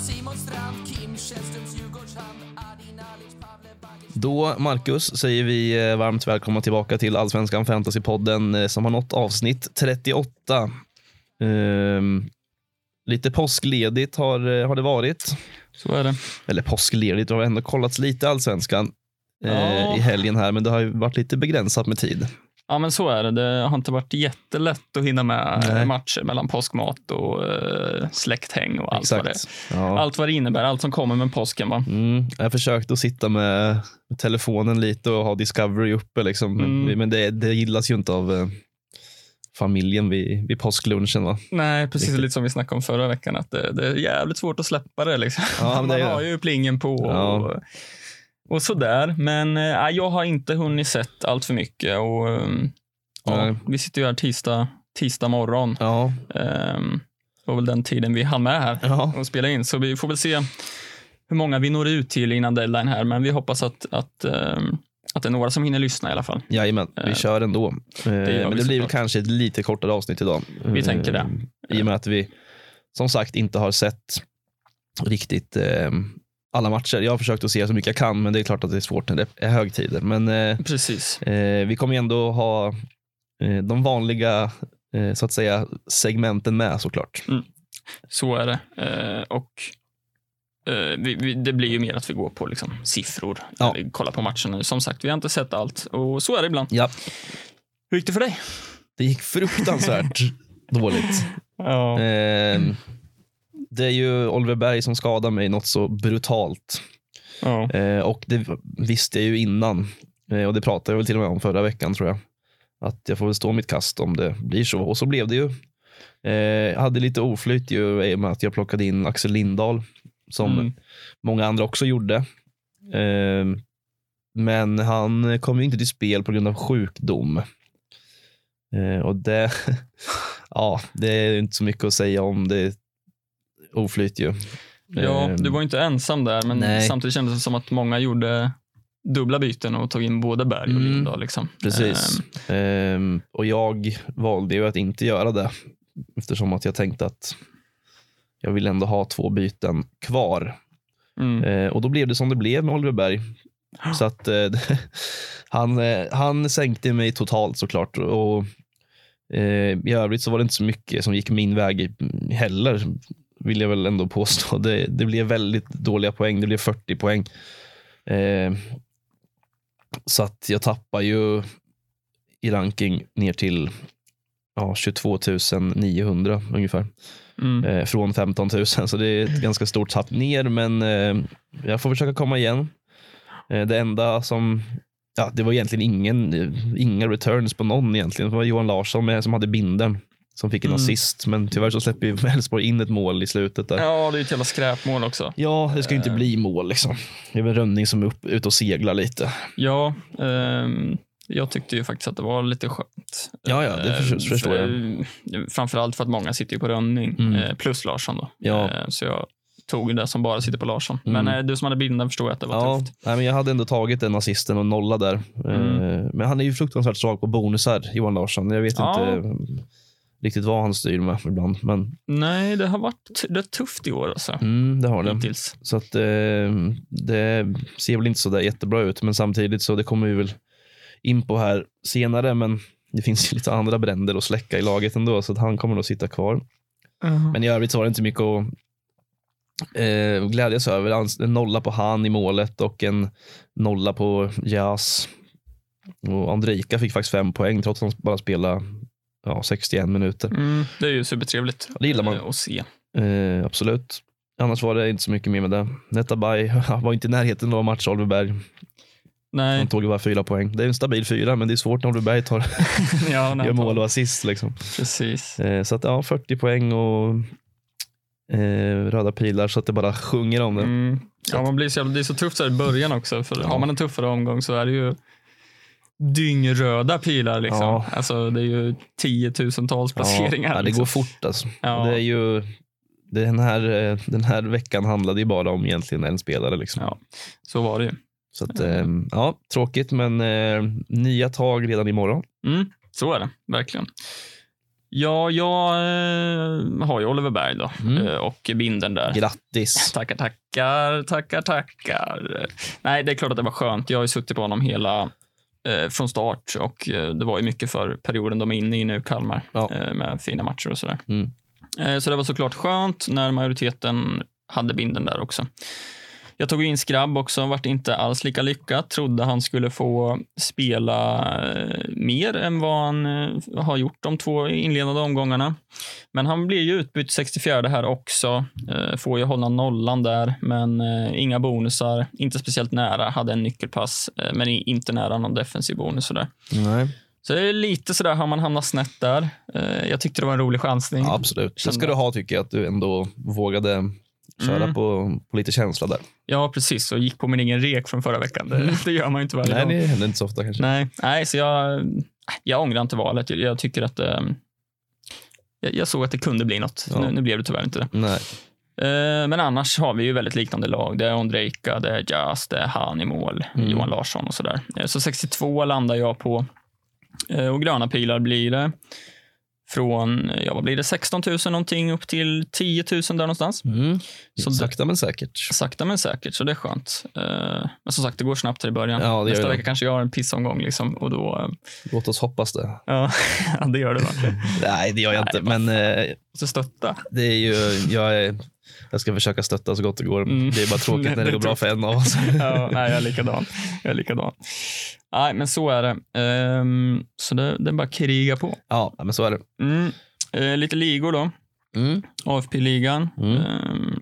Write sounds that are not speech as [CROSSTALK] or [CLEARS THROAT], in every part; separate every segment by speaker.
Speaker 1: Simon Strand, Kim Källströms Djurgårdshamn, Adin Alic, Pavle Bagic
Speaker 2: Då, Marcus, säger vi eh, varmt välkomna tillbaka till Allsvenskan Fantasypodden eh, som har nått avsnitt 38. Ehm, lite påskledigt har, eh, har det varit.
Speaker 3: Så är det.
Speaker 2: Eller påskledigt, det har ändå kollats lite Allsvenskan eh,
Speaker 3: Ja.
Speaker 2: i helgen här, men det har ju varit lite begränsat med tid.
Speaker 3: Ja, men så är det. Det har inte varit jättelätt att hinna med eh,
Speaker 2: Nej.
Speaker 3: matcher mellan påskmat och eh, släkthäng och allt vad, det,
Speaker 2: Ja.
Speaker 3: allt vad det innebär. Allt som kommer med påsken. Va?
Speaker 2: Mm, jag försökte att sitta med med telefonen lite och ha Discovery uppe, liksom. men-
Speaker 3: Mm.
Speaker 2: men det, det gillas ju inte av eh, familjen vid, vid påsklunchen. Va?
Speaker 3: Nej, precis
Speaker 2: Riktigt.
Speaker 3: lite som vi snackade om förra veckan. Att det, det är jävligt svårt att släppa det. Liksom.
Speaker 2: Ja, men det
Speaker 3: Man
Speaker 2: är det.
Speaker 3: har ju plingen på. Och,
Speaker 2: Ja.
Speaker 3: och sådär. Men eh, jag har inte hunnit sett allt för mycket. Och, eh, ja,
Speaker 2: Nej.
Speaker 3: vi sitter ju här tisdag, tisdag morgon.
Speaker 2: Ja.
Speaker 3: Ehm, Det var väl den tiden vi hann med här.
Speaker 2: Ja.
Speaker 3: och spela in. Så vi får väl se hur många vi når ut till innan deadline här. Men vi hoppas att, att, ehm, att det är några som hinner lyssna i alla fall.
Speaker 2: Jajamän, vi
Speaker 3: Eh,
Speaker 2: kör ändå. Eh,
Speaker 3: vi
Speaker 2: men det blir väl
Speaker 3: såklart.
Speaker 2: kanske ett lite kortare avsnitt idag. Eh,
Speaker 3: Vi tänker det.
Speaker 2: I och med att vi som sagt inte har sett riktigt eh, alla matcher. Jag har försökt att se så mycket jag kan, men det är klart att det är svårt när det är högtider. Men eh,
Speaker 3: Precis.
Speaker 2: eh, vi kommer ju ändå ha eh, de vanliga eh, så att säga segmenten med såklart.
Speaker 3: Så är det. Eh, och eh, vi, vi, det blir ju mer att vi går på liksom, siffror.
Speaker 2: Ja.
Speaker 3: Vi kollar på matchen nu. Som sagt, vi har inte sett allt. Och så är det ibland.
Speaker 2: Ja,
Speaker 3: Hur gick det för dig?
Speaker 2: det gick
Speaker 3: [LAUGHS]
Speaker 2: fruktansvärt dåligt.
Speaker 3: Ja.
Speaker 2: Eh, det är ju Oliver Berg som skadar mig något så brutalt.
Speaker 3: ja.
Speaker 2: Eh, och det visste jag ju innan. Eh, och det pratade jag väl till och med om förra veckan tror jag. Att jag får väl stå mitt kast om det blir så. Och så blev det ju. Eh, jag hade lite oflyt ju i och med att jag plockade in Axel Lindahl. Som
Speaker 3: Mm.
Speaker 2: många andra också gjorde. Eh, men han kom ju inte till spel på grund av sjukdom. Eh, och det, [LAUGHS] ja, det är inte så mycket att säga om. Det är oflyt ju.
Speaker 3: Ja,
Speaker 2: Ehm.
Speaker 3: du var ju inte ensam där, men
Speaker 2: Nej.
Speaker 3: samtidigt kändes det som att många gjorde dubbla byten och tog in både Berg och
Speaker 2: Mm.
Speaker 3: Lindahl. Liksom.
Speaker 2: Precis.
Speaker 3: Ehm,
Speaker 2: Ehm, och jag valde ju att inte göra det eftersom att jag tänkte att jag vill ändå ha två byten kvar.
Speaker 3: Mm.
Speaker 2: Eh, och då blev det som det blev med Oliver Berg. Så att eh, [LAUGHS] han, eh, han sänkte mig totalt såklart. Och, eh, I övrigt så var det inte så mycket som gick min väg i- heller, vill jag väl ändå påstå. [LAUGHS] Det, det blev väldigt dåliga poäng. Det blev 40 poäng. Eh, så att jag tappar ju i ranking ner till ja, 22 900 ungefär.
Speaker 3: Mm.
Speaker 2: Eh, från 15 000, så det är ett ganska stort tapp ner, men eh, jag får försöka komma igen. Eh, det enda som, ja, det var egentligen ingen, eh, inga returns på någon egentligen. Det var Johan Larsson med, som hade binden som fick en
Speaker 3: Mm.
Speaker 2: assist, men tyvärr så släpper ju [LAUGHS] Elfsborg in ett mål i slutet där. Ja.
Speaker 3: Ja, det är ju ett jävla skräpmål också.
Speaker 2: det ska ju inte
Speaker 3: Eh.
Speaker 2: bli mål liksom. Det är väl Rönning som är upp, ute och seglar lite.
Speaker 3: Ja, ehm, jag tyckte ju faktiskt att det var lite skönt.
Speaker 2: Ja, ja, det förstår- förstår
Speaker 3: jag. Framförallt för att många sitter ju på Rönning,
Speaker 2: Mm.
Speaker 3: eh, plus Larsson då.
Speaker 2: Ja.
Speaker 3: Eh, Så jag tog ju det som bara sitter på Larsson.
Speaker 2: Mm.
Speaker 3: Men eh, du som hade bilden förstår jag att det var
Speaker 2: Ja,
Speaker 3: tufft.
Speaker 2: nej, men jag hade ändå tagit den assisten och nolla där.
Speaker 3: Mm.
Speaker 2: Eh, Men han är ju fruktansvärt svag på bonusar, Johan Larsson. Jag vet
Speaker 3: Ja.
Speaker 2: inte eh, riktigt vad han styr med ibland, men
Speaker 3: Nej, det har varit det är tufft i år alltså.
Speaker 2: mm, det har det.
Speaker 3: Hittills.
Speaker 2: Så att, eh, det ser väl inte så där jättebra ut, men samtidigt så det kommer vi väl in på här senare. Men det finns ju lite andra bränder att släcka i laget ändå, så att han kommer nog sitta kvar. Men i övrigt så var det inte mycket att eh, glädjas över. Ans- En nolla på han i målet och en nolla på Jas. Och Andrejka fick faktiskt fem poäng trots att han bara spelade ja, 61 minuter.
Speaker 3: Mm, det är ju supertrevligt
Speaker 2: Det gillar man.
Speaker 3: eh, att se.
Speaker 2: Eh, absolut. Annars var det inte så mycket mer med det. Netabay [LAUGHS] var inte i närheten av match Oliver Berg. Han
Speaker 3: Nej,
Speaker 2: tog ju bara fyra poäng. Det är en stabil fyra, men det är svårt när Oliver Berg tar,
Speaker 3: [LAUGHS] ja,
Speaker 2: gör
Speaker 3: nej,
Speaker 2: mål och assist. Liksom.
Speaker 3: precis.
Speaker 2: Eh, så att, ja, 40 poäng och eh, röda pilar så att det bara sjunger om det.
Speaker 3: Mm.
Speaker 2: Så
Speaker 3: Ja, man blir så jävla, det är så tufft så här i början också. För
Speaker 2: Ja.
Speaker 3: Har man en tuffare omgång så är det ju dyngröda pilar. Liksom.
Speaker 2: Ja.
Speaker 3: Alltså, det är ju tiotusentals placeringar.
Speaker 2: Ja, ja, det
Speaker 3: liksom.
Speaker 2: går fort alltså.
Speaker 3: ja.
Speaker 2: Det är ju, den, här, eh, den här veckan handlade ju bara om egentligen en spelare. Liksom.
Speaker 3: Ja. Så var det ju.
Speaker 2: Så att, eh, ja, tråkigt, men eh, nya tag redan imorgon.
Speaker 3: Mm. Så är det, verkligen. Ja, jag eh, har ju Oliver Berg då
Speaker 2: Mm.
Speaker 3: eh, och binden där.
Speaker 2: Grattis.
Speaker 3: [LAUGHS] Tackar, tackar, tackar, tackar. Nej, det är klart att det var skönt. Jag har ju suttit på honom hela eh, från start och eh, det var ju mycket för perioden de är inne i nu, Kalmar,
Speaker 2: Ja.
Speaker 3: eh, med fina matcher och sådär.
Speaker 2: Mm.
Speaker 3: Eh, så det var såklart skönt när majoriteten hade binden där också. Jag tog in Skrabb också, vart inte alls lika lyckat. Trodde han skulle få spela eh, mer än vad han eh, har gjort de två inledande omgångarna. Men han blir ju utbytt 64 här också. Eh, Får ju hålla nollan där, men eh, inga bonusar. Inte speciellt nära. Hade en nyckelpass, eh, men i- inte nära någon defensiv bonus. Sådär.
Speaker 2: Nej.
Speaker 3: Så det är lite sådär, har man hamnat snett där. Eh, Jag tyckte det var en rolig chansning.
Speaker 2: Ja, absolut. Det ska
Speaker 3: Kände-
Speaker 2: du ha tycker jag, att du ändå vågade köra
Speaker 3: Mm.
Speaker 2: på, på lite känsla där.
Speaker 3: Ja, precis. Och gick på min egen rek från förra veckan. Det, det gör man ju inte varje
Speaker 2: Mm. Nej,
Speaker 3: gång.
Speaker 2: det händer inte så ofta kanske.
Speaker 3: Nej, nej, så jag, eh, jag ångrar inte valet. Jag, jag tycker att eh, jag, jag såg att det kunde bli något.
Speaker 2: Ja.
Speaker 3: Nu, nu blev det tyvärr inte det.
Speaker 2: Nej.
Speaker 3: Eh, Men annars har vi ju väldigt liknande lag. Det är Ondrejka, det är Jas, det är Han i mål,
Speaker 2: Mm.
Speaker 3: Johan Larsson och sådär. Eh, Så 62 landar jag på. Eh, Och gröna pilar blir det. Från, eh, ja vad blir det, 16 000 någonting upp till 10 000 där någonstans.
Speaker 2: Mm.
Speaker 3: Så där-
Speaker 2: Sakta men säkert.
Speaker 3: Sakta men säkert, så det är skönt. Eh, Men som sagt, det går snabbt här i början.
Speaker 2: Ja, det gör
Speaker 3: Nästa
Speaker 2: det.
Speaker 3: vecka kanske jag har en pissomgång liksom och då, eh,
Speaker 2: Låt oss hoppas det.
Speaker 3: ja, [LAUGHS] ja, det gör det va.
Speaker 2: [LAUGHS] Nej, det gör jag inte, men eh,
Speaker 3: Så stötta.
Speaker 2: det är ju, jag, är, jag ska försöka stötta så gott det går.
Speaker 3: Mm.
Speaker 2: Det är bara tråkigt när
Speaker 3: Det
Speaker 2: det
Speaker 3: är
Speaker 2: går bra för en av oss.
Speaker 3: [LAUGHS] ja, nej, jag är likadan. Jag är likadan. Nej, men så är det. Ehm, så det, det är bara att kriga på.
Speaker 2: Ja, men så är det.
Speaker 3: Mm. Eh, lite ligor då.
Speaker 2: Mm.
Speaker 3: AFP-ligan.
Speaker 2: Mm.
Speaker 3: Ehm,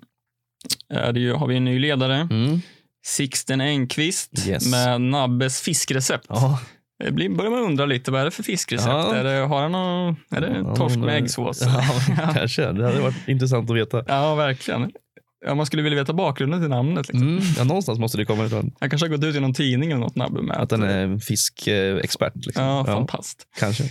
Speaker 3: är det ju, har vi en ny ledare.
Speaker 2: Mm.
Speaker 3: Sixten Engqvist
Speaker 2: Yes.
Speaker 3: med Nabbes fiskrecept.
Speaker 2: Ja.
Speaker 3: Det blir, börjar man undra lite, vad är det för fiskrecept?
Speaker 2: Ja.
Speaker 3: Är det, har han någon, är det
Speaker 2: Ja,
Speaker 3: torsk
Speaker 2: men-
Speaker 3: med äggsås?
Speaker 2: Ja, kanske. Det hade varit intressant att veta.
Speaker 3: Ja, verkligen. Ja, man skulle vilja veta bakgrunden till namnet. Liksom.
Speaker 2: Mm. Ja, någonstans måste det komma ifrån.
Speaker 3: Han kanske har gått ut i någon tidning eller något, Nabbe, med
Speaker 2: Att han är en fiskexpert. Liksom.
Speaker 3: Ja, fantast.
Speaker 2: kanske.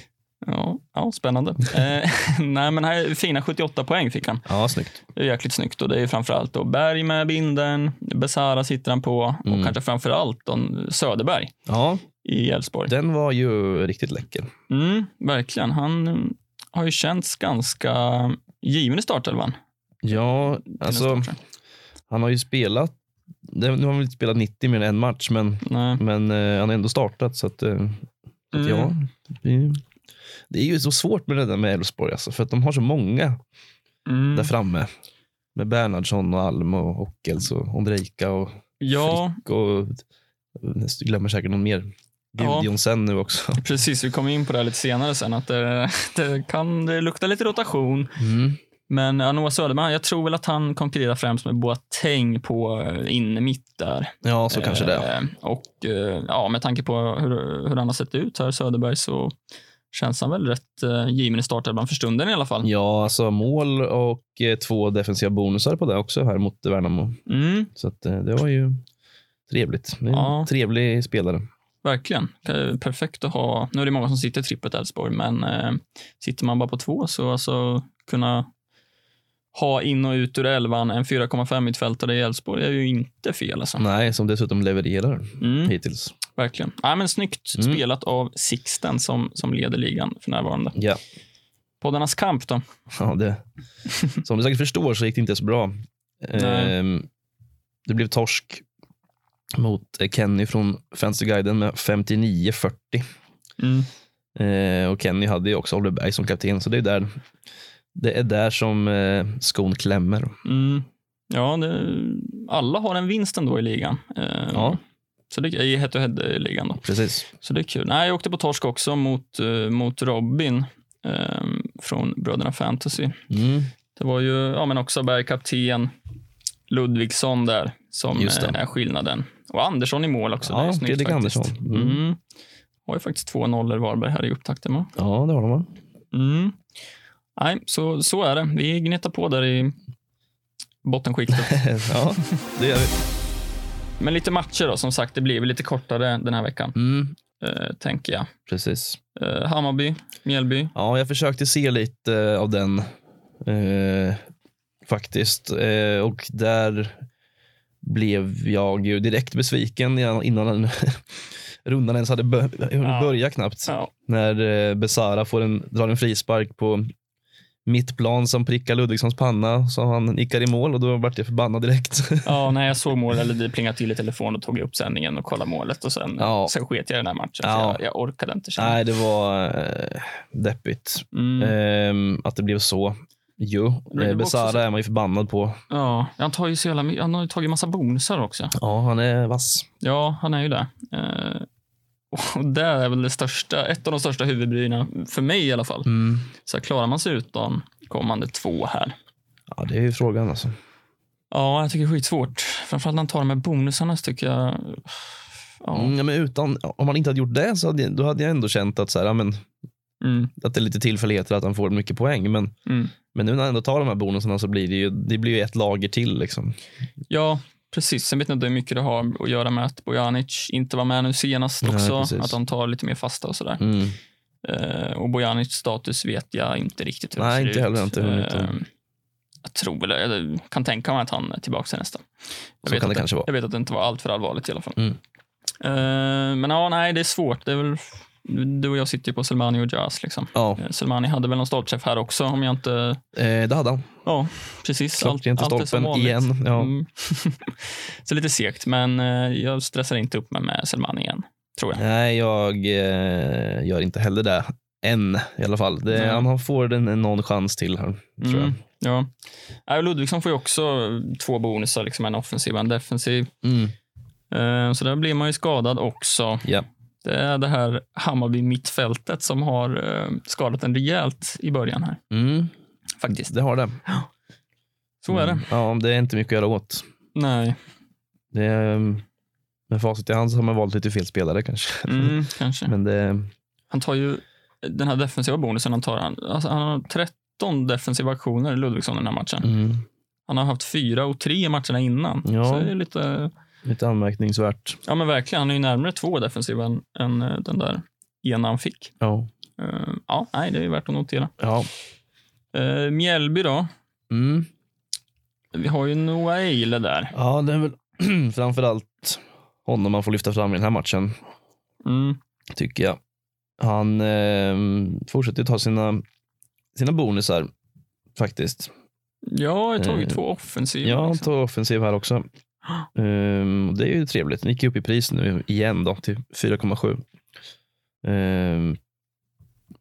Speaker 3: Ja,
Speaker 2: [LAUGHS]
Speaker 3: ja spännande. eh, [LAUGHS] nej, men här, fina 78 poäng fick han.
Speaker 2: Ja, snyggt.
Speaker 3: Det är jäkligt snyggt och det är ju framförallt då Berg med binden, Besara sitter han på och
Speaker 2: Mm.
Speaker 3: kanske framförallt då Söderberg
Speaker 2: Ja,
Speaker 3: i Elfsborg.
Speaker 2: den var ju riktigt läcker.
Speaker 3: Mm, verkligen. Han mm, har ju känts ganska given i startelvan. till
Speaker 2: Ja,
Speaker 3: en
Speaker 2: alltså
Speaker 3: start.
Speaker 2: han har ju spelat, det- nu har han väl inte spelat 90 mer än en match, men,
Speaker 3: Nej.
Speaker 2: men eh, han har ändå startat så att, eh, så att
Speaker 3: Mm.
Speaker 2: ja. Det, det är ju så svårt med det där med Elfsborg alltså, för att de har så många
Speaker 3: Mm.
Speaker 2: där framme. Med Bernhardsson och Alm och Ockels och Ondrejka och,
Speaker 3: Ja,
Speaker 2: och jag glömmer säkert någon mer.
Speaker 3: Ja.
Speaker 2: Gudjonsen nu också.
Speaker 3: precis. Vi kommer in på det här lite senare sen. Att det, [LAUGHS] det kan det lukta lite rotation.
Speaker 2: Mm.
Speaker 3: Men ja, Noah Söderberg, jag tror väl att han konkurrerar främst med Boateng på eh, inne mitt där.
Speaker 2: Ja, så kanske det.
Speaker 3: Eh, Och eh, ja, med tanke på hur, hur han har sett ut här, Söderberg, så känns han väl rätt eh, given i startelvan för stunden i alla fall.
Speaker 2: Ja, alltså mål och eh, två defensiva bonusar på det också här mot Värnamo.
Speaker 3: Mm,
Speaker 2: Så att, eh, det var ju trevligt. Det är en
Speaker 3: Ja.
Speaker 2: Trevlig spelare.
Speaker 3: verkligen. Eh, Perfekt att ha. Nu är det många som sitter i trippet Elfsborg, men eh, sitter man bara på två så alltså kunna ha in och ut ur elvan en 4,5 mittfältare i Elfsborg är ju inte fel. Alltså.
Speaker 2: Nej, som dessutom levererar
Speaker 3: Mm,
Speaker 2: hittills.
Speaker 3: verkligen. Nej, men snyggt
Speaker 2: Mm.
Speaker 3: spelat av Sixten som, som leder ligan för närvarande.
Speaker 2: Ja.
Speaker 3: Poddarnas kamp då?
Speaker 2: ja [LAUGHS] det. Som du säkert förstår så gick det inte så bra.
Speaker 3: Nej.
Speaker 2: Ehm, det blev torsk mot eh, Kenny från Fensterguiden med 59-40.
Speaker 3: Mm.
Speaker 2: Eh, och Kenny hade ju också Oliver Berg som kapten, så det är där, det är där som eh, skon klämmer.
Speaker 3: Mm. Ja, det, alla har en vinst ändå i ligan. Eh,
Speaker 2: Ja.
Speaker 3: Så det, I head-to-head-ligan eh, då.
Speaker 2: Precis.
Speaker 3: Så det är kul. Nej, jag åkte på torsk också mot, eh, mot Robin eh, från Bröderna Fantasy.
Speaker 2: Mm.
Speaker 3: Det var ju ja, men också bergkapten Ludvigsson där som
Speaker 2: Just det.
Speaker 3: eh, är skillnaden. Och Andersson i mål också.
Speaker 2: Ja,
Speaker 3: det är snyggt
Speaker 2: Fredrik
Speaker 3: faktiskt.
Speaker 2: Andersson.
Speaker 3: Mm.
Speaker 2: Mm.
Speaker 3: Har ju faktiskt två nollor Varberg här i upptakten. va?
Speaker 2: Ja, det har de va?
Speaker 3: Mm. Nej, så, så är det. Vi gnetar på där i bottenskiktet.
Speaker 2: [LAUGHS] ja, det gör vi.
Speaker 3: Men lite matcher då, som sagt. Det blir väl lite kortare den här veckan,
Speaker 2: Mm,
Speaker 3: eh, tänker jag.
Speaker 2: precis.
Speaker 3: Eh, Hammarby, Mjällby.
Speaker 2: Ja, jag försökte se lite eh, av den eh, faktiskt. Eh, och där blev jag ju direkt besviken innan innan den [LAUGHS] rundan ens hade bör-
Speaker 3: Ja.
Speaker 2: hunnit börja knappt.
Speaker 3: Ja,
Speaker 2: När eh, Besara får en, drar en frispark på mittplan som prickar Ludvigssons panna som han nickar i mål och då vart jag förbannad direkt.
Speaker 3: ja, när jag såg målet, eller det plingade till i telefonen, och tog jag upp sändningen och kollade målet och sen,
Speaker 2: Ja.
Speaker 3: sen sket jag i den här matchen.
Speaker 2: Ja.
Speaker 3: För jag, jag orkade inte.
Speaker 2: [LAUGHS]
Speaker 3: känna.
Speaker 2: Nej, det var eh, deppigt.
Speaker 3: Mm.
Speaker 2: Ehm, att det blev så. Jo,
Speaker 3: Men det var
Speaker 2: eh,
Speaker 3: också så-
Speaker 2: Besara är man ju förbannad på.
Speaker 3: Ja, han, tar ju så jävla, my- han har ju tagit massa bonusar också.
Speaker 2: Ja, han är vass.
Speaker 3: Ja, han är ju det. Eh, och det är väl det största, ett av de största huvudbryna, för mig i alla fall.
Speaker 2: Mm.
Speaker 3: Så här, klarar man sig utan kommande två här?
Speaker 2: Ja, det är ju frågan alltså.
Speaker 3: Ja, jag tycker det är skitsvårt. Framförallt när han tar de här bonusarna så tycker jag... Ja.
Speaker 2: Mm, ja, men utan, om han inte hade gjort det så hade, jag- då hade jag ändå känt att, så här, ja, men,
Speaker 3: Mm,
Speaker 2: att det är lite tillfälligheter att han får mycket poäng. Men,
Speaker 3: mm.
Speaker 2: men nu när han ändå tar de här bonusarna så blir det ju, det blir ju ett lager till. Liksom.
Speaker 3: Ja, precis. Sen vet jag inte hur mycket det har att göra med att Bojanic inte var med nu senast
Speaker 2: Nej,
Speaker 3: också.
Speaker 2: precis.
Speaker 3: att han tar lite mer fasta och sådär.
Speaker 2: Mm.
Speaker 3: Eh, och Bojanics status vet jag inte riktigt hur
Speaker 2: Nej,
Speaker 3: det
Speaker 2: inte
Speaker 3: ser ut.
Speaker 2: heller, inte hunnit.
Speaker 3: Eh, jag tror, eller jag kan tänka mig att han är tillbaka till nästa. Jag
Speaker 2: Så
Speaker 3: vet
Speaker 2: kan
Speaker 3: att
Speaker 2: det kanske vara.
Speaker 3: Jag vet att det inte var allt för allvarligt i alla fall.
Speaker 2: Mm.
Speaker 3: Eh, men ja, nej, det är svårt. Det är väl, du och jag sitter ju på Selmani och Jazz. Liksom.
Speaker 2: Ja,
Speaker 3: Eh, Selmani hade väl någon startträff här också om jag inte...
Speaker 2: eh, det hade han.
Speaker 3: Ja, precis. Allt,
Speaker 2: Klockrent i
Speaker 3: allt är som
Speaker 2: stolpen
Speaker 3: vanligt.
Speaker 2: igen. Ja.
Speaker 3: Mm. [LAUGHS] så lite segt, men eh, jag stressar inte upp mig med Selmani igen. Tror jag.
Speaker 2: Nej, jag eh, gör inte heller det. Än i alla fall. Det,
Speaker 3: Nej.
Speaker 2: Han får den, eh, någon chans till här, tror jag.
Speaker 3: Mm. Ja. Nej, och Ludvigsson får ju också två bonusar, liksom en offensiv och en defensiv.
Speaker 2: Mm.
Speaker 3: Eh, Så där blir man ju skadad också.
Speaker 2: Ja.
Speaker 3: Det är det här Hammarby-mittfältet som har eh, skadat en rejält i början här.
Speaker 2: Mm.
Speaker 3: Faktiskt.
Speaker 2: Det har det.
Speaker 3: Så är det.
Speaker 2: Mm. Ja, det är inte mycket att göra åt.
Speaker 3: Nej,
Speaker 2: Det är, ehm, med facit i hand så har man valt lite fel spelare kanske.
Speaker 3: mm,
Speaker 2: [LAUGHS]
Speaker 3: kanske.
Speaker 2: Men det,
Speaker 3: Han tar ju den här defensiva bonusen. Han, tar, han, alltså, han har 13 defensiva aktioner, Ludvigsson, den här matchen.
Speaker 2: mm,
Speaker 3: Han har haft fyra och tre i matcherna innan.
Speaker 2: Ja.
Speaker 3: Så det är lite,
Speaker 2: lite anmärkningsvärt.
Speaker 3: ja men verkligen. Han är ju närmare två defensiva än, än eh, den där ena han fick.
Speaker 2: Ja.
Speaker 3: Eh, ja, nej, det är värt att notera.
Speaker 2: ja.
Speaker 3: Uh, Mjällby då.
Speaker 2: Mm.
Speaker 3: Vi har ju Noah Eile där.
Speaker 2: ja, det är väl [CLEARS THROAT] framförallt honom man får lyfta fram i den här matchen,
Speaker 3: Mm.
Speaker 2: tycker jag. Han ehm, fortsätter ju ta sina, sina bonusar, faktiskt.
Speaker 3: Ja, jag tog ju
Speaker 2: Eh,
Speaker 3: två offensiva.
Speaker 2: Ja, han
Speaker 3: liksom.
Speaker 2: tar offensiv här
Speaker 3: [GASPS]
Speaker 2: också. Ehm, och det är ju trevligt. Den gick ju upp i pris nu igen då, till 4,7. Ehm,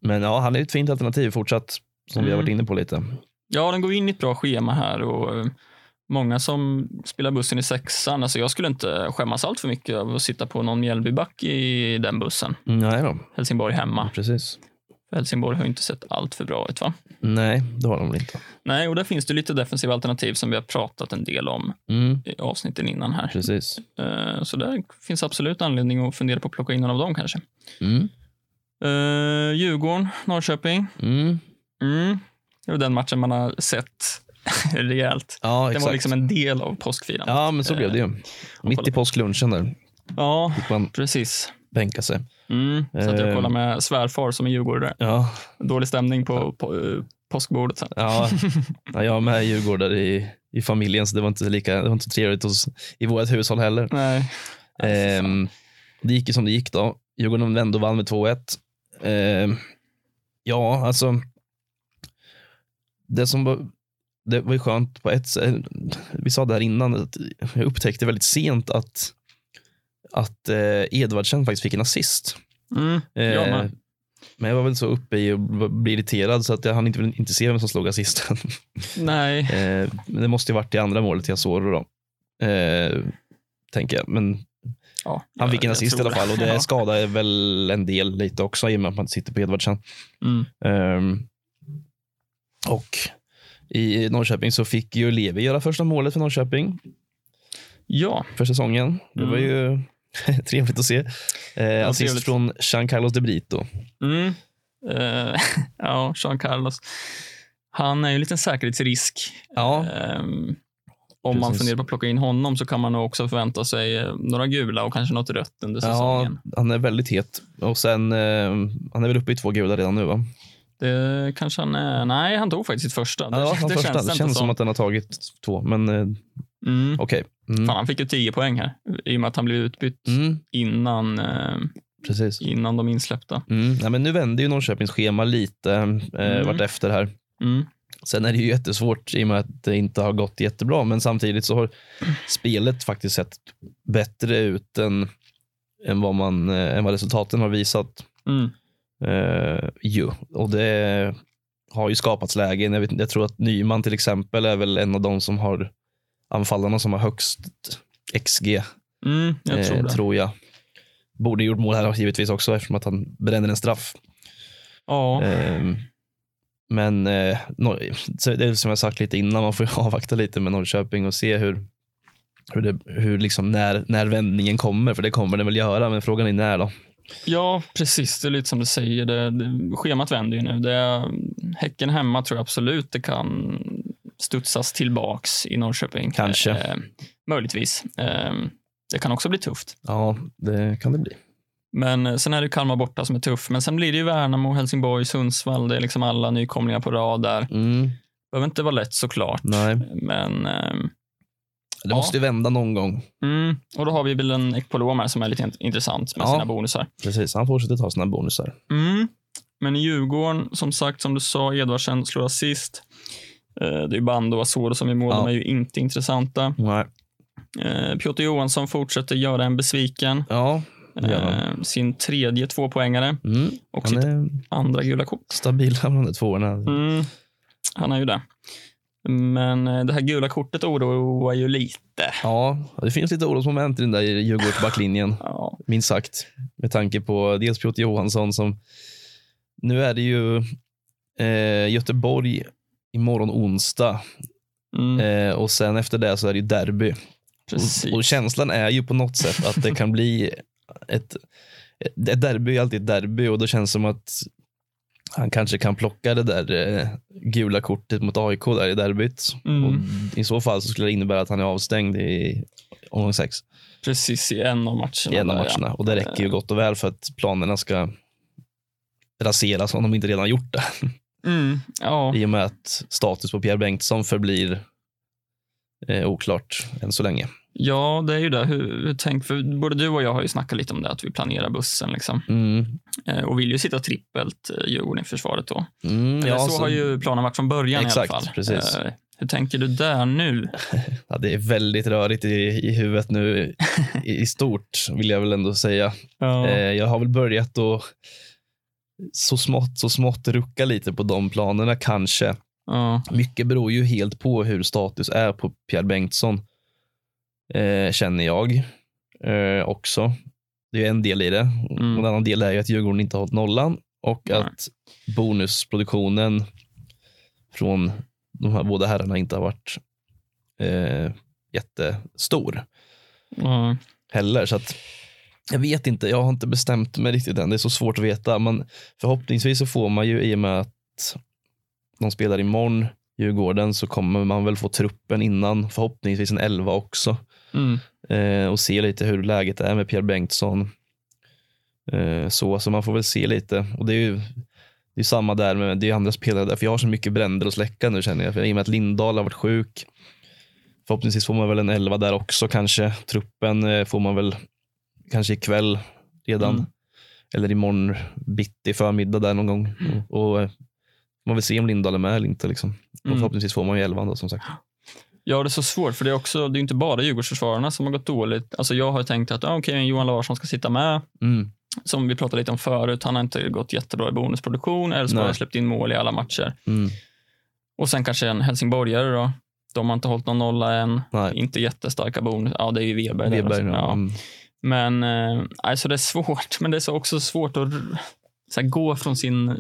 Speaker 2: men ja, han är ju ett fint alternativ fortsatt, som vi har
Speaker 3: Mm.
Speaker 2: varit inne på lite.
Speaker 3: ja, den går in i ett bra schema här och eh, många som spelar bussen i sexan. Alltså, jag skulle inte skämmas allt för mycket över att sitta på någon Mjällbyback i den bussen.
Speaker 2: Nej då,
Speaker 3: Helsingborg hemma.
Speaker 2: precis.
Speaker 3: För Helsingborg har ju inte sett allt för bra ut, va?
Speaker 2: Nej, det har de väl inte.
Speaker 3: Nej, och där finns det lite defensiva alternativ som vi har pratat en del om
Speaker 2: Mm,
Speaker 3: i avsnitten innan här.
Speaker 2: precis.
Speaker 3: Eh, Så där finns absolut anledning att fundera på att plocka in någon av dem kanske.
Speaker 2: Mm,
Speaker 3: Uh, Djurgården, Norrköping.
Speaker 2: mm.
Speaker 3: Mm. Det var den matchen man har sett [LAUGHS] rejält.
Speaker 2: Ja,
Speaker 3: Det
Speaker 2: exakt.
Speaker 3: var liksom en Eh, del av påskfirandet.
Speaker 2: Ja, men så blev det ju. Mitt i påsklunchen där
Speaker 3: Ja,
Speaker 2: fick man
Speaker 3: precis.
Speaker 2: bänka sig.
Speaker 3: Mm. Så att jag
Speaker 2: Eh.
Speaker 3: kollade med svärfar som är djurgårdare.
Speaker 2: Ja,
Speaker 3: Dålig stämning på, på eh, påskbordet sen.
Speaker 2: ja. ja jag är med djurgårdare i, i familjen, så det var inte lika det var inte så trevligt hos, i vårt hushåll heller.
Speaker 3: Nej.
Speaker 2: Ehm, det gick ju som det gick då. Djurgården vände och vann med 2-1. Ehm, ja, alltså. Det som var, det var ju skönt på ett sätt. Vi sa det här innan, att jag upptäckte väldigt sent att, att eh, Edvardsen faktiskt fick en assist.
Speaker 3: Mm. Jag
Speaker 2: Ehm,
Speaker 3: med.
Speaker 2: men jag var väl så uppe i att bli irriterad så att jag hann inte, inte se vem som slog assisten. [LAUGHS]
Speaker 3: Nej.
Speaker 2: Eh, men det måste ju varit det andra målet jag såg då. Eh, tänker jag. Men
Speaker 3: Ja,
Speaker 2: han fick en
Speaker 3: jag
Speaker 2: assist i
Speaker 3: tror
Speaker 2: alla fall och det
Speaker 3: [LAUGHS] Ja.
Speaker 2: skadar väl en del lite också i och med att man inte sitter på Edvardsen.
Speaker 3: Mm.
Speaker 2: Ehm, och i Norrköping så fick ju Levi göra första målet för Norrköping
Speaker 3: Ja,
Speaker 2: för säsongen. Det var
Speaker 3: Mm.
Speaker 2: ju [LAUGHS] trevligt att se. Eh, assist
Speaker 3: trevligt.
Speaker 2: från Jean Carlos de Brito.
Speaker 3: Mm. Eh, [LAUGHS] ja, Jean Carlos. Han är ju en liten säkerhetsrisk.
Speaker 2: Ja.
Speaker 3: Ehm, om man
Speaker 2: Precis.
Speaker 3: funderar på att plocka in honom så kan man nog också förvänta sig eh, några gula och kanske något rött under säsongen.
Speaker 2: Ja, han är väldigt het. Och sen, eh, han är väl uppe i två gula redan nu va?
Speaker 3: Det kanske han är. Nej, han tog faktiskt sitt första.
Speaker 2: Ja, det var
Speaker 3: det
Speaker 2: han första. Det
Speaker 3: inte
Speaker 2: känns som att den har tagit två, men eh,
Speaker 3: Mm.
Speaker 2: Okej. Mm.
Speaker 3: Fan, han fick ju 10 poäng här i och med att han blev utbytt
Speaker 2: Mm,
Speaker 3: innan, eh,
Speaker 2: precis.
Speaker 3: innan de insläppta.
Speaker 2: Mm. Ja, men nu vände ju Norrköpings schema lite eh,
Speaker 3: Mm.
Speaker 2: vartefter här.
Speaker 3: Mm.
Speaker 2: Sen är det ju jättesvårt i och med att det inte har gått jättebra, men samtidigt så har spelet faktiskt sett bättre ut än, än, vad, man, eh, än vad resultaten har visat.
Speaker 3: Mm.
Speaker 2: Eh, ju. Och det har ju skapats lägen. Jag, vet, inte, jag tror att Nyman till exempel är väl en av de som har anfallarna som har högst XG,
Speaker 3: Mm, jag tror
Speaker 2: eh,
Speaker 3: det.
Speaker 2: tror jag. Borde gjort mål här givetvis också eftersom att han bränner en straff.
Speaker 3: Ja.
Speaker 2: Ehm, Men eh, Nor- så det är som jag sagt lite innan, man får ju [LAUGHS] avvakta lite med Norrköping och se hur, hur, det, hur liksom när, när vändningen kommer, för det kommer den väl göra, men frågan är när då.
Speaker 3: ja, precis. Det är lite som du säger. Det, det, schemat vänder ju nu. Det är, häcken hemma tror jag absolut det kan studsas tillbaks i Norrköping.
Speaker 2: Kanske.
Speaker 3: Eh, möjligtvis. Eh, det kan också bli tufft.
Speaker 2: Ja, det kan det bli.
Speaker 3: Men eh, sen är det Kalmar borta som är tuff. Men sen blir det ju Värnamo, Helsingborg, Sundsvall. Det är liksom alla nykomlingar på rad där.
Speaker 2: Mm,
Speaker 3: behöver inte vara lätt såklart.
Speaker 2: nej.
Speaker 3: Men, ehm,
Speaker 2: Det
Speaker 3: Ja.
Speaker 2: måste ju vända någon gång.
Speaker 3: mm, och då har vi väl en Ekpolom här som är lite int- intressant med
Speaker 2: Ja.
Speaker 3: sina bonusar.
Speaker 2: Precis, han fortsätter ta sina bonusar.
Speaker 3: Mm. Men i Djurgården, som sagt, som du sa, Edvardsen slår assist. Eh, Det är ju Bando och Asoro som vi mål,
Speaker 2: Ja.
Speaker 3: de är ju inte intressanta.
Speaker 2: Nej.
Speaker 3: Eh, Piotr Johansson fortsätter göra en besviken.
Speaker 2: Ja, det gör han.
Speaker 3: Eh, Sin tredje tvåpoängare
Speaker 2: Mm,
Speaker 3: och
Speaker 2: han
Speaker 3: sitt
Speaker 2: är
Speaker 3: andra gula kort.
Speaker 2: stabil bland de tvåorna.
Speaker 3: Mm. Han är ju det. Men eh, det här gula kortet oroar ju lite.
Speaker 2: Ja, det finns lite orosmoment i den där Djurgårdsbacklinjen.
Speaker 3: Ja.
Speaker 2: minst sagt. Med tanke på dels Piotr Johansson som... Nu är det ju eh, Göteborg imorgon onsdag
Speaker 3: Mm,
Speaker 2: eh, och sen efter det så är det ju derby.
Speaker 3: precis.
Speaker 2: Och, och känslan är ju på något sätt att det kan bli ett... ett- Ett derby är alltid ett derby och då känns det som att han kanske kan plocka det där eh, gula kortet mot AIK där i derbyt.
Speaker 3: Mm.
Speaker 2: Och I så fall så skulle det innebära att han är avstängd i omgång sex.
Speaker 3: Precis, i en av matcherna.
Speaker 2: i en av
Speaker 3: där, ja.
Speaker 2: matcherna. Och det räcker ju gott och väl för att planerna ska raseras om de inte redan gjort det.
Speaker 3: Mm, ja.
Speaker 2: I och med att status på Pierre Bengtsson förblir eh, oklart än så länge.
Speaker 3: ja, det är ju det. Hur, hur tänk, för både du och jag har ju snackat lite om det, att vi planerar bussen. Liksom.
Speaker 2: Mm.
Speaker 3: Eh, och vill ju sitta trippelt eh, Djurgården i försvaret då.
Speaker 2: Mm,
Speaker 3: Eller
Speaker 2: ja,
Speaker 3: så
Speaker 2: så-
Speaker 3: har ju planen varit från början
Speaker 2: Exakt,
Speaker 3: i alla fall.
Speaker 2: precis.
Speaker 3: Eh, hur tänker du där nu?
Speaker 2: ja, det är väldigt rörigt i, i huvudet nu i, i stort, vill jag väl ändå säga.
Speaker 3: Ja.
Speaker 2: Eh, jag har väl börjat att så smått, så smått rucka lite på de planerna kanske.
Speaker 3: ja.
Speaker 2: Mycket beror ju helt på hur status är på Pierre Bengtsson, eh, känner jag eh, också. Det är en del i det.
Speaker 3: Mm.
Speaker 2: En annan del är ju att Djurgården inte har hållit nollan och
Speaker 3: Nej.
Speaker 2: att bonusproduktionen från de här båda herrarna inte har varit eh, jättestor
Speaker 3: ja.
Speaker 2: heller. Så att jag vet inte, jag har inte bestämt mig riktigt än. Det är så svårt att veta. Men förhoppningsvis så får man ju i och med att de spelar imorgon, Djurgården, så kommer man väl få truppen innan. Förhoppningsvis en elva också.
Speaker 3: Mm.
Speaker 2: Eh, och se lite hur läget är med Pierre Bengtsson. Eh, så, så man får väl se lite. Och det är ju det är samma där, men det är andra spelare där. För jag har så mycket bränder att släcka nu känner jag. För I och med att Lindahl har varit sjuk. Förhoppningsvis får man väl en elva där också kanske. Truppen eh, får man väl kanske ikväll redan.
Speaker 3: Mm.
Speaker 2: Eller imorgon bitti förmiddag där någon gång. Och eh, man vill se om Lindahl är med eller inte. Liksom. Och
Speaker 3: Mm.
Speaker 2: förhoppningsvis får man ju elvan då som sagt.
Speaker 3: Ja, det är så svårt, för det är också, det är ju inte bara Djurgårdsförsvararna som har gått dåligt. Alltså, jag har tänkt att ah, okej, Johan Larsson ska sitta med.
Speaker 2: Mm.
Speaker 3: Som vi pratade lite om förut, han har inte gått jättebra i bonusproduktion. Elfsborg
Speaker 2: Nej.
Speaker 3: har släppt in mål i alla matcher.
Speaker 2: Mm.
Speaker 3: Och sen kanske en helsingborgare då. De har inte hållit någon nolla än.
Speaker 2: Nej.
Speaker 3: Inte jättestarka bonus. Ja, det är ju Weberg. där
Speaker 2: Weberg,
Speaker 3: också.
Speaker 2: ja.
Speaker 3: ja.
Speaker 2: Mm.
Speaker 3: Men eh, alltså det är svårt. [LAUGHS] Men det är så också svårt att r- så här, gå från sin
Speaker 2: Ja,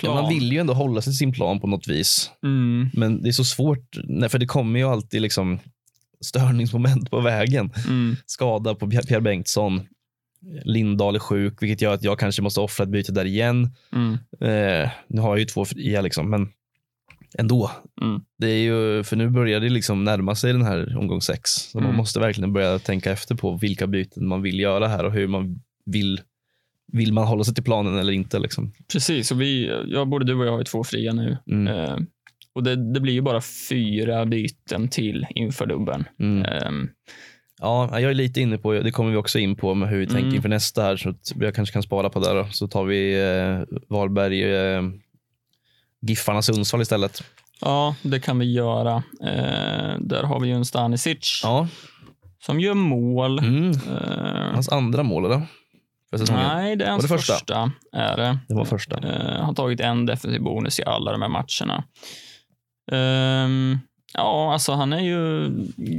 Speaker 3: plan.
Speaker 2: man vill ju ändå hålla sig till sin plan på något vis.
Speaker 3: Mm,
Speaker 2: Men det är så svårt, nej, för det kommer ju alltid liksom störningsmoment på vägen.
Speaker 3: mm,
Speaker 2: Skada på Pierre Bengtsson. Lindahl är sjuk, vilket gör att jag kanske måste offra ett byte där igen.
Speaker 3: mm,
Speaker 2: Eh, nu har jag ju två fria, liksom, men ändå.
Speaker 3: Mm.
Speaker 2: Det är ju, för nu börjar det liksom närma sig den här omgång sex. Så man
Speaker 3: Mm.
Speaker 2: måste verkligen börja tänka efter på vilka byten man vill göra här och hur man vill. Vill man hålla sig till planen eller inte? Liksom.
Speaker 3: precis. Och vi, ja, både du och jag har ju två fria nu.
Speaker 2: Mm.
Speaker 3: Eh, Och det, det blir ju bara fyra byten till inför dubben.
Speaker 2: Mm.
Speaker 3: Ehm,
Speaker 2: Ja, jag är lite inne på, det kommer vi också in på, med hur vi tänker
Speaker 3: Mm.
Speaker 2: inför nästa här. Så att jag kanske kan spara på det då. Så tar vi eh, Varberg, eh, Giffarna Sundsvall istället.
Speaker 3: ja, det kan vi göra. Ehm, där har vi ju en Stanisic
Speaker 2: Ja,
Speaker 3: som gör mål.
Speaker 2: mm.
Speaker 3: Ehm,
Speaker 2: hans andra mål eller? För säsongen?
Speaker 3: nej, det är
Speaker 2: det
Speaker 3: hans
Speaker 2: första?
Speaker 3: första. är det.
Speaker 2: Det var första.
Speaker 3: Eh, har tagit en defensiv bonus i alla de här matcherna. Ehm, ja, alltså han är ju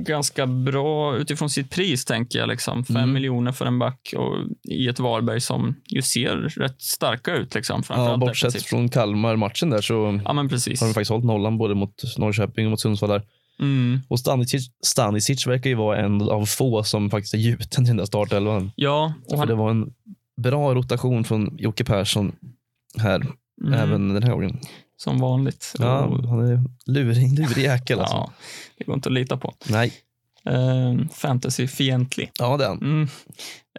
Speaker 3: ganska bra utifrån sitt pris, tänker jag. Liksom. Fem
Speaker 2: Mm.
Speaker 3: miljoner för en back och i ett Varberg som ju ser rätt starka ut. Liksom,
Speaker 2: Ja,
Speaker 3: framförallt
Speaker 2: bortsett
Speaker 3: defensivt.
Speaker 2: från Kalmar-matchen där så
Speaker 3: Ja, men precis.
Speaker 2: har de faktiskt hållit nollan både mot Norrköping och mot Sundsvall där.
Speaker 3: Mm.
Speaker 2: Och Stanisic, Stanisic verkar ju vara en av få som faktiskt är gjuten i den där startelvan.
Speaker 3: Ja, och
Speaker 2: För
Speaker 3: han,
Speaker 2: det var en bra rotation från Jocke Persson här,
Speaker 3: mm,
Speaker 2: även den här gången.
Speaker 3: som vanligt.
Speaker 2: Ja,
Speaker 3: Och-
Speaker 2: han är lurig, lurig jäkel alltså.
Speaker 3: ja, det går inte att lita på.
Speaker 2: Nej,
Speaker 3: Ehm, Fantasy-fientlig.
Speaker 2: ja det är han.
Speaker 3: Mm.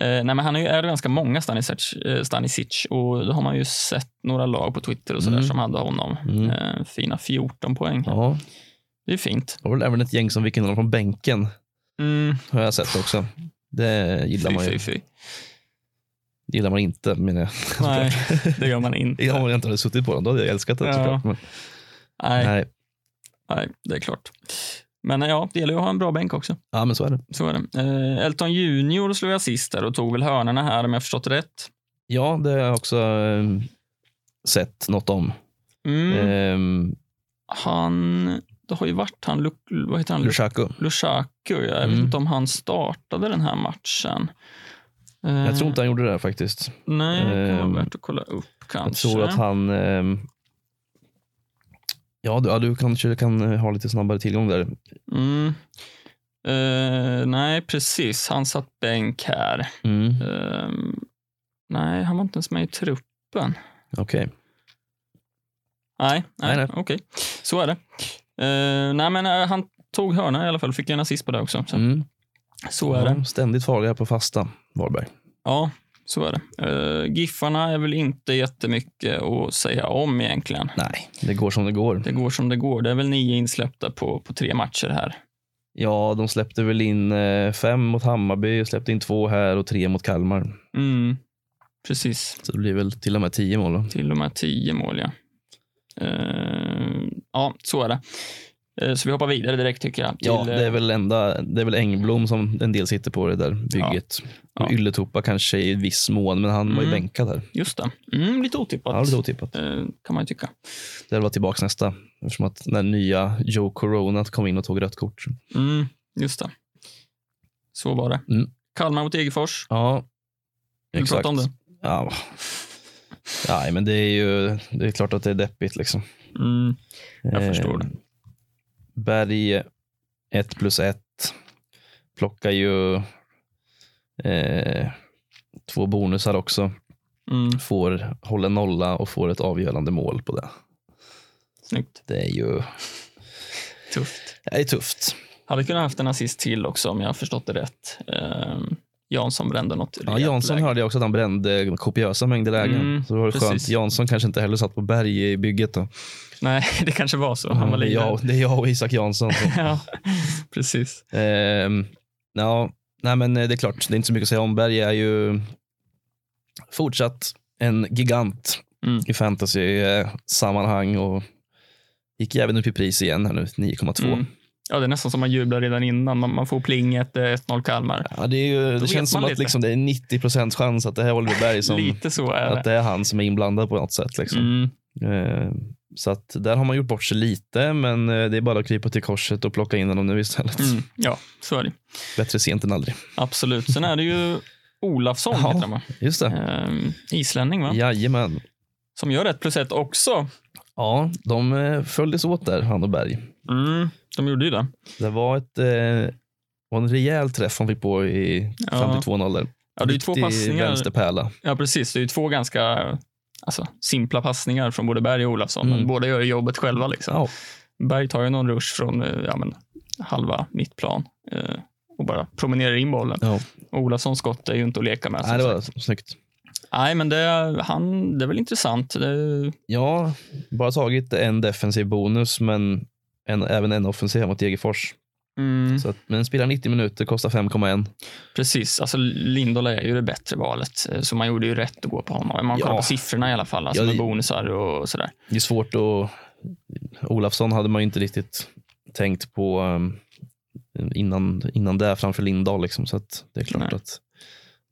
Speaker 3: Eh, nej, men han har ju är ganska många Stanisic, eh, Stanisic och då har man ju sett några lag på Twitter och sådär
Speaker 2: Mm.
Speaker 3: som hade honom.
Speaker 2: Mm.
Speaker 3: Eh, fina 14 poäng.
Speaker 2: Ja,
Speaker 3: Det är fint.
Speaker 2: det var väl även ett gäng som fick in honom från bänken,
Speaker 3: Mm.
Speaker 2: har jag sett också. Det gillar
Speaker 3: Fy,
Speaker 2: man
Speaker 3: fy,
Speaker 2: ju.
Speaker 3: fy.
Speaker 2: gillar man inte, menar jag.
Speaker 3: Nej, det gör man inte.
Speaker 2: Ja, Om jag inte hade suttit på den, då hade jag älskat det
Speaker 3: Ja.
Speaker 2: såklart. Men, [LAUGHS]
Speaker 3: Nej,
Speaker 2: nej.
Speaker 3: nej, det är klart. Men eh, ja, det gäller ju att ha en bra bänk också.
Speaker 2: Ja, men så är det.
Speaker 3: Så är det. Eh, Elton Junior slog assist där och tog väl hörnorna här om jag förstått rätt.
Speaker 2: Ja, det har jag också eh, sett något om.
Speaker 3: Mm.
Speaker 2: Ehm,
Speaker 3: Han, det har ju varit han, Lu, vad heter han? Lu-
Speaker 2: Lushaku.
Speaker 3: Lushaku. Jag vet
Speaker 2: Mm.
Speaker 3: inte om han startade den här matchen. Eh,
Speaker 2: Jag
Speaker 3: Mm.
Speaker 2: tror inte han gjorde det här, faktiskt.
Speaker 3: Nej, det kan
Speaker 2: Ehm,
Speaker 3: vara värt att kolla upp kanske.
Speaker 2: Jag tror att han... ehm, ja, du, ja, du kanske kan eh, ha lite snabbare tillgång där.
Speaker 3: mm. Eh, nej, precis. Han satt bänk här.
Speaker 2: Mm.
Speaker 3: Ehm, nej, han var inte ens med i truppen.
Speaker 2: Okej.
Speaker 3: Nej, nej,
Speaker 2: Nej,
Speaker 3: okej. Så är det. Eh, nej, men eh, han tog hörna i alla fall. Fick ju en assist på det också. Så,
Speaker 2: Mm.
Speaker 3: så är det.
Speaker 2: Ja, Ständigt farliga på fasta, Varberg.
Speaker 3: Ja, så är det. Eh, Giffarna är väl inte jättemycket att säga om egentligen.
Speaker 2: Nej, det går som det går.
Speaker 3: Det går som det går. Det är väl nio insläppta på, på tre matcher här.
Speaker 2: Ja, de släppte väl in eh, fem mot Hammarby, släppte in två här och tre mot Kalmar.
Speaker 3: Mm, precis.
Speaker 2: Så det blir väl till och med tio mål. då.
Speaker 3: Till och med 10 mål, ja. Eh, ja, så är det. Eh, så vi hoppar vidare direkt tycker jag. Till,
Speaker 2: Ja, det är
Speaker 3: eh,
Speaker 2: väl enda, det är väl Engblom som en del sitter på det där bygget.
Speaker 3: Ja.
Speaker 2: Och Ylätupa kanske i viss mån, men han var ju
Speaker 3: Mm.
Speaker 2: bänkad här.
Speaker 3: Just det. Mm, lite otippat.
Speaker 2: Ja, lite otippat.
Speaker 3: Eh, kan man ju tycka.
Speaker 2: Det var tillbaka nästa, eftersom att när nya Joe Corona kom in och tog rött kort.
Speaker 3: Mm, just det. Så var det.
Speaker 2: Mm.
Speaker 3: Kalmar mot Egefors.
Speaker 2: Ja,
Speaker 3: Vill du prata om det?
Speaker 2: Ja. Nej, men det är ju det är klart att det är deppigt. Liksom.
Speaker 3: Mm, jag
Speaker 2: Eh,
Speaker 3: förstår det.
Speaker 2: Berg 1 plus 1 plockar ju eh, två bonusar också.
Speaker 3: mm,
Speaker 2: Får hålla nolla och får ett avgörande mål på det.
Speaker 3: snyggt.
Speaker 2: Det är ju
Speaker 3: Tufft.
Speaker 2: det är tufft.
Speaker 3: Hade kunnat haft en assist till också om jag har förstått det rätt. Eh, Jansson brände något
Speaker 2: Ja,
Speaker 3: rejält
Speaker 2: Jansson
Speaker 3: läge.
Speaker 2: hörde jag också att han brände kopiösa mängder lägen.
Speaker 3: Mm,
Speaker 2: så det var
Speaker 3: precis.
Speaker 2: skönt. Jansson kanske inte heller satt på berg i bygget. Då.
Speaker 3: Nej, [LAUGHS] det kanske var så. Han var
Speaker 2: det, är
Speaker 3: livrädd.
Speaker 2: jag, det är jag och Isak Jansson. som- [LAUGHS]
Speaker 3: ja, precis.
Speaker 2: Ehm, ja, nej men eh, det är klart, det är inte så mycket att säga om. Berg är ju fortsatt en gigant
Speaker 3: Mm.
Speaker 2: i fantasy-sammanhang och gick jävligt upp i pris igen här nu, 9,2.
Speaker 3: Mm. Ja, det är nästan som man jublar redan innan. Man, man får plinget, det är 1-0 Kalmar.
Speaker 2: Ja, det är ju, det
Speaker 3: vet
Speaker 2: känns som
Speaker 3: man
Speaker 2: att
Speaker 3: lite.
Speaker 2: liksom, det är 90 procents chans att det här är Oliver Berg som,
Speaker 3: Lite så är
Speaker 2: att
Speaker 3: det.
Speaker 2: det är han som är inblandad på något sätt. Liksom.
Speaker 3: Mm.
Speaker 2: Ehm, så att där har man gjort bort sig lite, men eh, det är bara att krypa till korset och plocka in honom nu istället.
Speaker 3: Mm. Ja, så är det.
Speaker 2: Bättre sent än aldrig.
Speaker 3: Absolut. Sen är det ju Olafsson,
Speaker 2: Ja.
Speaker 3: heter han va?
Speaker 2: Just det.
Speaker 3: Ehm, islänning, va?
Speaker 2: Jajamän.
Speaker 3: Som gör ett plus ett också.
Speaker 2: Ja, de eh, följdes åt där, han och Berg.
Speaker 3: Mm. De gjorde ju det.
Speaker 2: Det var ett, eh, var en rejäl träff han fick på i
Speaker 3: Ja.
Speaker 2: fram till 2-0. där.
Speaker 3: Ja, det är ju två
Speaker 2: Riktig
Speaker 3: passningar.
Speaker 2: vänsterpärla.
Speaker 3: Ja, precis. Det är ju två ganska alltså, simpla passningar från både Berg och Olafsson.
Speaker 2: Mm.
Speaker 3: Men båda gör ju jobbet själva. Liksom.
Speaker 2: Ja,
Speaker 3: Berg tar ju någon rush från eh, ja, men, halva mittplan eh, och bara promenerar in bollen.
Speaker 2: ja.
Speaker 3: Och Olafssons skott är ju inte att leka med. som
Speaker 2: Nej, det
Speaker 3: sagt.
Speaker 2: var snyggt.
Speaker 3: Nej, men det, han, det är väl intressant. Det,
Speaker 2: Ja, bara tagit en defensiv bonus, men en, även en offensiv mot Degerfors.
Speaker 3: mm,
Speaker 2: Så att, men spelar 90 minuter, kostar 5,1.
Speaker 3: precis, alltså Lindahl är ju det bättre valet, eh, så man gjorde ju rätt att gå på honom. Man kollar
Speaker 2: Ja.
Speaker 3: på siffrorna i alla fall, alltså
Speaker 2: Ja,
Speaker 3: med
Speaker 2: det-
Speaker 3: bonusar och sådär.
Speaker 2: Det är svårt att... Olafsson hade man ju inte riktigt tänkt på um, innan, innan det, framför Lindahl. Liksom, så att det är klart
Speaker 3: Nej.
Speaker 2: att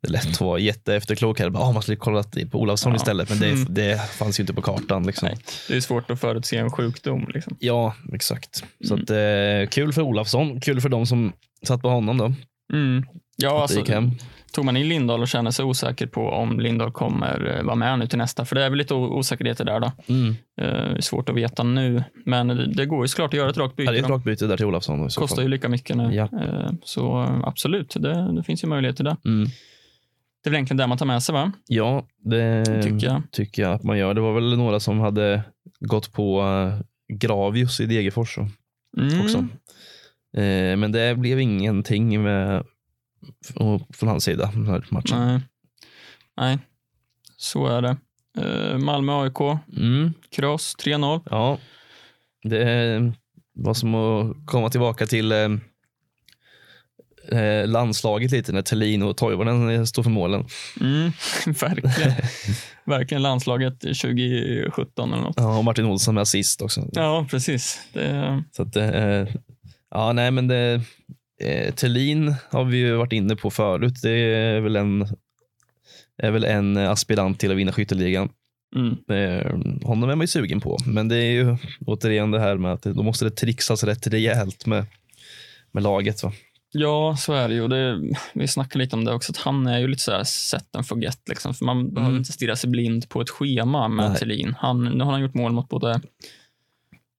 Speaker 2: det är lätt att vara jätteefterklok här. Bara, "Ah, man skulle kollat på Olafsson
Speaker 3: Ja.
Speaker 2: istället, men det,
Speaker 3: Mm.
Speaker 2: det fanns ju inte på kartan. Liksom.
Speaker 3: Nej. Det är svårt att förutse en sjukdom. Liksom.
Speaker 2: Ja, exakt. Så
Speaker 3: Mm.
Speaker 2: att, eh, kul för Olafsson, kul för de som satt på honom då.
Speaker 3: Mm. Ja,
Speaker 2: att det
Speaker 3: alltså,
Speaker 2: gick hem.
Speaker 3: tog man in Lindahl och känner sig osäker på om Lindahl kommer eh, vara med nu till nästa, för det är väl lite o- osäkerheter där då.
Speaker 2: Mm.
Speaker 3: Eh, svårt att veta nu, men det, det går ju såklart att göra ett rakt byte.
Speaker 2: Ja, det är ett
Speaker 3: då.
Speaker 2: rakt byte där till Olafsson. då i så fall.
Speaker 3: kostar ju lika mycket nu.
Speaker 2: Ja.
Speaker 3: Eh, Så eh, absolut, det, det finns ju möjligheter där.
Speaker 2: Mm.
Speaker 3: Det är väl egentligen det man tar med sig, va?
Speaker 2: Ja, det
Speaker 3: tycker jag.
Speaker 2: tycker jag att man gör. Det var väl några som hade gått på eh, Gravius i Degerfors och-
Speaker 3: Mm.
Speaker 2: också. Eh, men det blev ingenting med, och- från hans sida den här matchen.
Speaker 3: Nej. Nej, så är det. Eh, Malmö-AIK,
Speaker 2: Mm,
Speaker 3: kross 3-0.
Speaker 2: ja. Det var som att komma tillbaka till eh, eh, landslaget lite när Thelin och Toivonen står för målen.
Speaker 3: Mm. [LAUGHS]
Speaker 2: [LAUGHS]
Speaker 3: Verkligen. Verkligen landslaget 2017 eller något.
Speaker 2: Ja, och Martin Olsson med assist också.
Speaker 3: Ja, precis. Det,
Speaker 2: Så att, eh, ja, nej, men det, eh, Thelin har vi ju varit inne på förut. Det är väl en, är väl en aspirant till att vinna skytteligan.
Speaker 3: mm.
Speaker 2: Eh, honom är man ju sugen på, men det är ju återigen det här med att det- då måste det trixas rätt rejält med, med laget. Va?
Speaker 3: Ja, så är det ju. Det, vi snackade lite om det också, att han är ju lite så här set and forget. Liksom, för man behöver inte stirra sig blind på ett schema med
Speaker 2: Mm. Nej.
Speaker 3: Thelin. Han, nu har han gjort mål mot både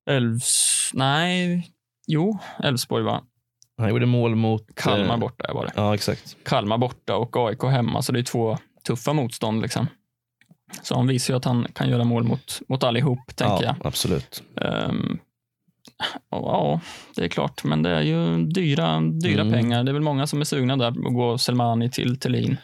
Speaker 3: Elfs... Nej, jo, Elfsborg va?
Speaker 2: Han gjorde mål mot
Speaker 3: Kalmar
Speaker 2: eh,
Speaker 3: borta var det.
Speaker 2: Ja, exakt.
Speaker 3: Kalmar borta och AIK hemma, så det är två tuffa motstånd. Liksom. Så han visar ju att han kan göra mål mot, mot allihop,
Speaker 2: ja,
Speaker 3: tänker jag.
Speaker 2: Absolut.
Speaker 3: Ehm, och ja, det är klart, men det är ju dyra, dyra
Speaker 2: Mm.
Speaker 3: pengar. Det är väl många som är sugna där att gå Selmani till Thelin.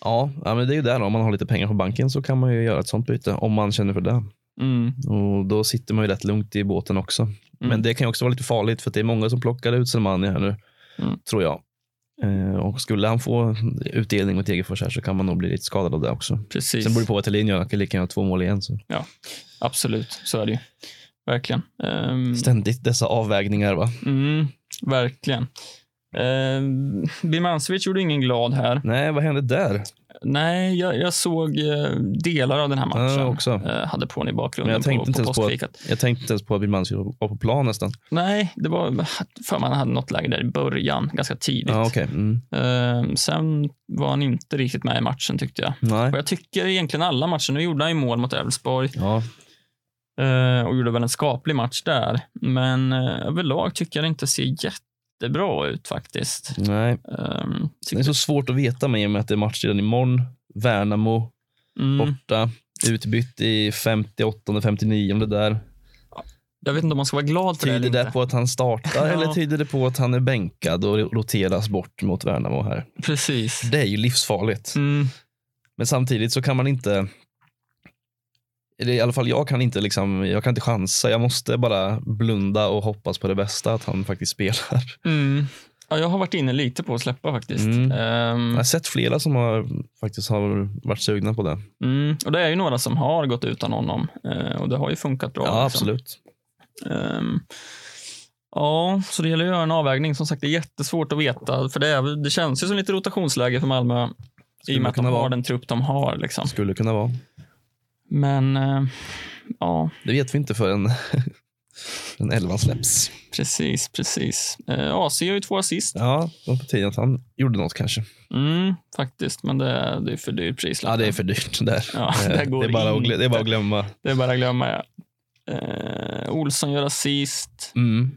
Speaker 2: Ja, ja, men det är ju där då. Om man har lite pengar på banken så kan man ju göra ett sånt byte om man känner för det.
Speaker 3: Mm.
Speaker 2: Och då sitter man ju rätt lugnt i båten också. Men det kan ju också vara lite farligt för att det är många som plockar ut Selmani här nu,
Speaker 3: Mm.
Speaker 2: tror jag. Eh, och skulle han få utdelning mot Degerfors här så kan man nog bli lite skadad av det också.
Speaker 3: Precis. Mm.
Speaker 2: Sen beror det på vad Thelin gör, han kan lika gärna ha två mål igen. Så.
Speaker 3: Absolut, så är det ju. Verkligen. Ehm,
Speaker 2: Ständigt dessa avvägningar va?
Speaker 3: mm, verkligen. Um, Birmancevic gjorde ingen glad här.
Speaker 2: Nej, vad hände där?
Speaker 3: Nej, jag, jag såg eh, delar av den här matchen.
Speaker 2: Ja, också.
Speaker 3: Eh, hade på den i
Speaker 2: Men
Speaker 3: bakgrunden
Speaker 2: jag tänkte
Speaker 3: på,
Speaker 2: inte
Speaker 3: på
Speaker 2: ens på att-
Speaker 3: postfikat.
Speaker 2: Jag tänkte inte ens på att Birmanci var på plan nästan.
Speaker 3: Nej, det var för man hade något läge där i början, ganska tidigt.
Speaker 2: Ja, okej. Mm.
Speaker 3: Ehm, sen var han inte riktigt med i matchen tyckte jag.
Speaker 2: Nej.
Speaker 3: Och jag tycker egentligen alla matcher. Nu gjorde han ju mål mot Elfsborg
Speaker 2: Ja.
Speaker 3: eh, och gjorde väl en skaplig match där. Men eh, överlag tycker jag det inte ser jättebra ut faktiskt.
Speaker 2: Nej.
Speaker 3: Ehm,
Speaker 2: Det är
Speaker 3: tycker,
Speaker 2: så svårt att veta med i och med att det är match redan imorgon. Värnamo
Speaker 3: mm,
Speaker 2: borta, utbytt i 58, 59 om det där.
Speaker 3: jag vet inte om man ska vara glad för det
Speaker 2: Tyder
Speaker 3: eller
Speaker 2: det
Speaker 3: inte.
Speaker 2: på att han startar
Speaker 3: Ja.
Speaker 2: eller tyder det på att han är bänkad och roteras bort mot Värnamo här?
Speaker 3: Precis.
Speaker 2: Det är ju livsfarligt.
Speaker 3: Mm,
Speaker 2: Men samtidigt så kan man inte, eller i alla fall jag kan inte, liksom, jag kan inte chansa. Jag måste bara blunda och hoppas på det bästa, att han faktiskt spelar.
Speaker 3: mm. Ja, jag har varit inne lite på att släppa faktiskt.
Speaker 2: Mm.
Speaker 3: Ehm,
Speaker 2: Jag har sett flera som har, faktiskt har varit sugna på det.
Speaker 3: mm, och det är ju några som har gått utan honom eh, och det har ju funkat bra.
Speaker 2: Ja,
Speaker 3: liksom.
Speaker 2: absolut.
Speaker 3: Ehm, ja, så det gäller att göra en avvägning. Som sagt, det är jättesvårt att veta. För det, är, väl- det känns ju som lite rotationsläge för Malmö i
Speaker 2: Skulle
Speaker 3: och med att de
Speaker 2: kunna
Speaker 3: har
Speaker 2: vara.
Speaker 3: den trupp de har. Liksom.
Speaker 2: Skulle kunna vara.
Speaker 3: Men eh, ja,
Speaker 2: Det vet vi inte förrän [LAUGHS] en elvan släpps.
Speaker 3: precis, precis. Eh, AC gör ju två assist.
Speaker 2: Ja, det var på tiden att han gjorde något kanske.
Speaker 3: Mm, faktiskt, men det, är- det är för dyrt prislapp.
Speaker 2: Ja, det är för dyrt där. [LAUGHS]
Speaker 3: Ja,
Speaker 2: Eh,
Speaker 3: [LAUGHS] det, går
Speaker 2: är bara att,
Speaker 3: in.
Speaker 2: glö- det är bara att glömma.
Speaker 3: Det är bara att glömma. Ja. Eh, Olsson gör assist.
Speaker 2: Mm.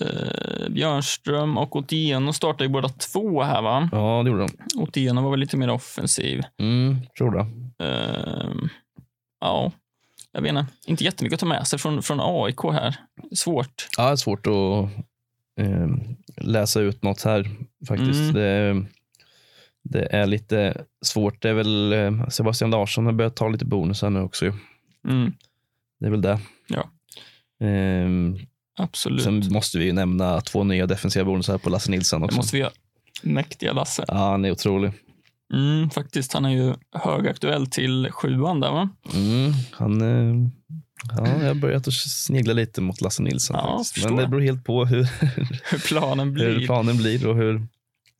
Speaker 3: Eh, Björnström och Otieno startar ju båda två här va?
Speaker 2: Ja, det gjorde de.
Speaker 3: Otieno var väl lite mer offensiv.
Speaker 2: Mm, tror det.
Speaker 3: Ehm, ja, jag vet inte. Inte jättemycket att ta med sig från, från AIK här. Svårt.
Speaker 2: Ja, det är svårt att eh, läsa ut något här faktiskt.
Speaker 3: Mm.
Speaker 2: Det, Det är lite svårt. Det är väl eh, Sebastian Larsson har börjat ta lite bonusar nu också. ju.
Speaker 3: Mm,
Speaker 2: Det är väl det.
Speaker 3: Ja.
Speaker 2: Ehm,
Speaker 3: absolut.
Speaker 2: sen måste vi ju nämna två nya defensiva bonusar på Lasse Nilsson
Speaker 3: det
Speaker 2: också.
Speaker 3: måste vi göra. Mäktiga Lasse.
Speaker 2: Ja, han är otrolig.
Speaker 3: Mm, faktiskt, han är ju högaktuell till sjuan där va? [LAUGHS]
Speaker 2: Mm, han, eh, ja, jag har börjat att snegla lite mot Lasse Nilsson.
Speaker 3: Ja,
Speaker 2: faktiskt.
Speaker 3: förstår
Speaker 2: Men det
Speaker 3: jag.
Speaker 2: beror helt på hur,
Speaker 3: Hur planen blir.
Speaker 2: hur planen blir och hur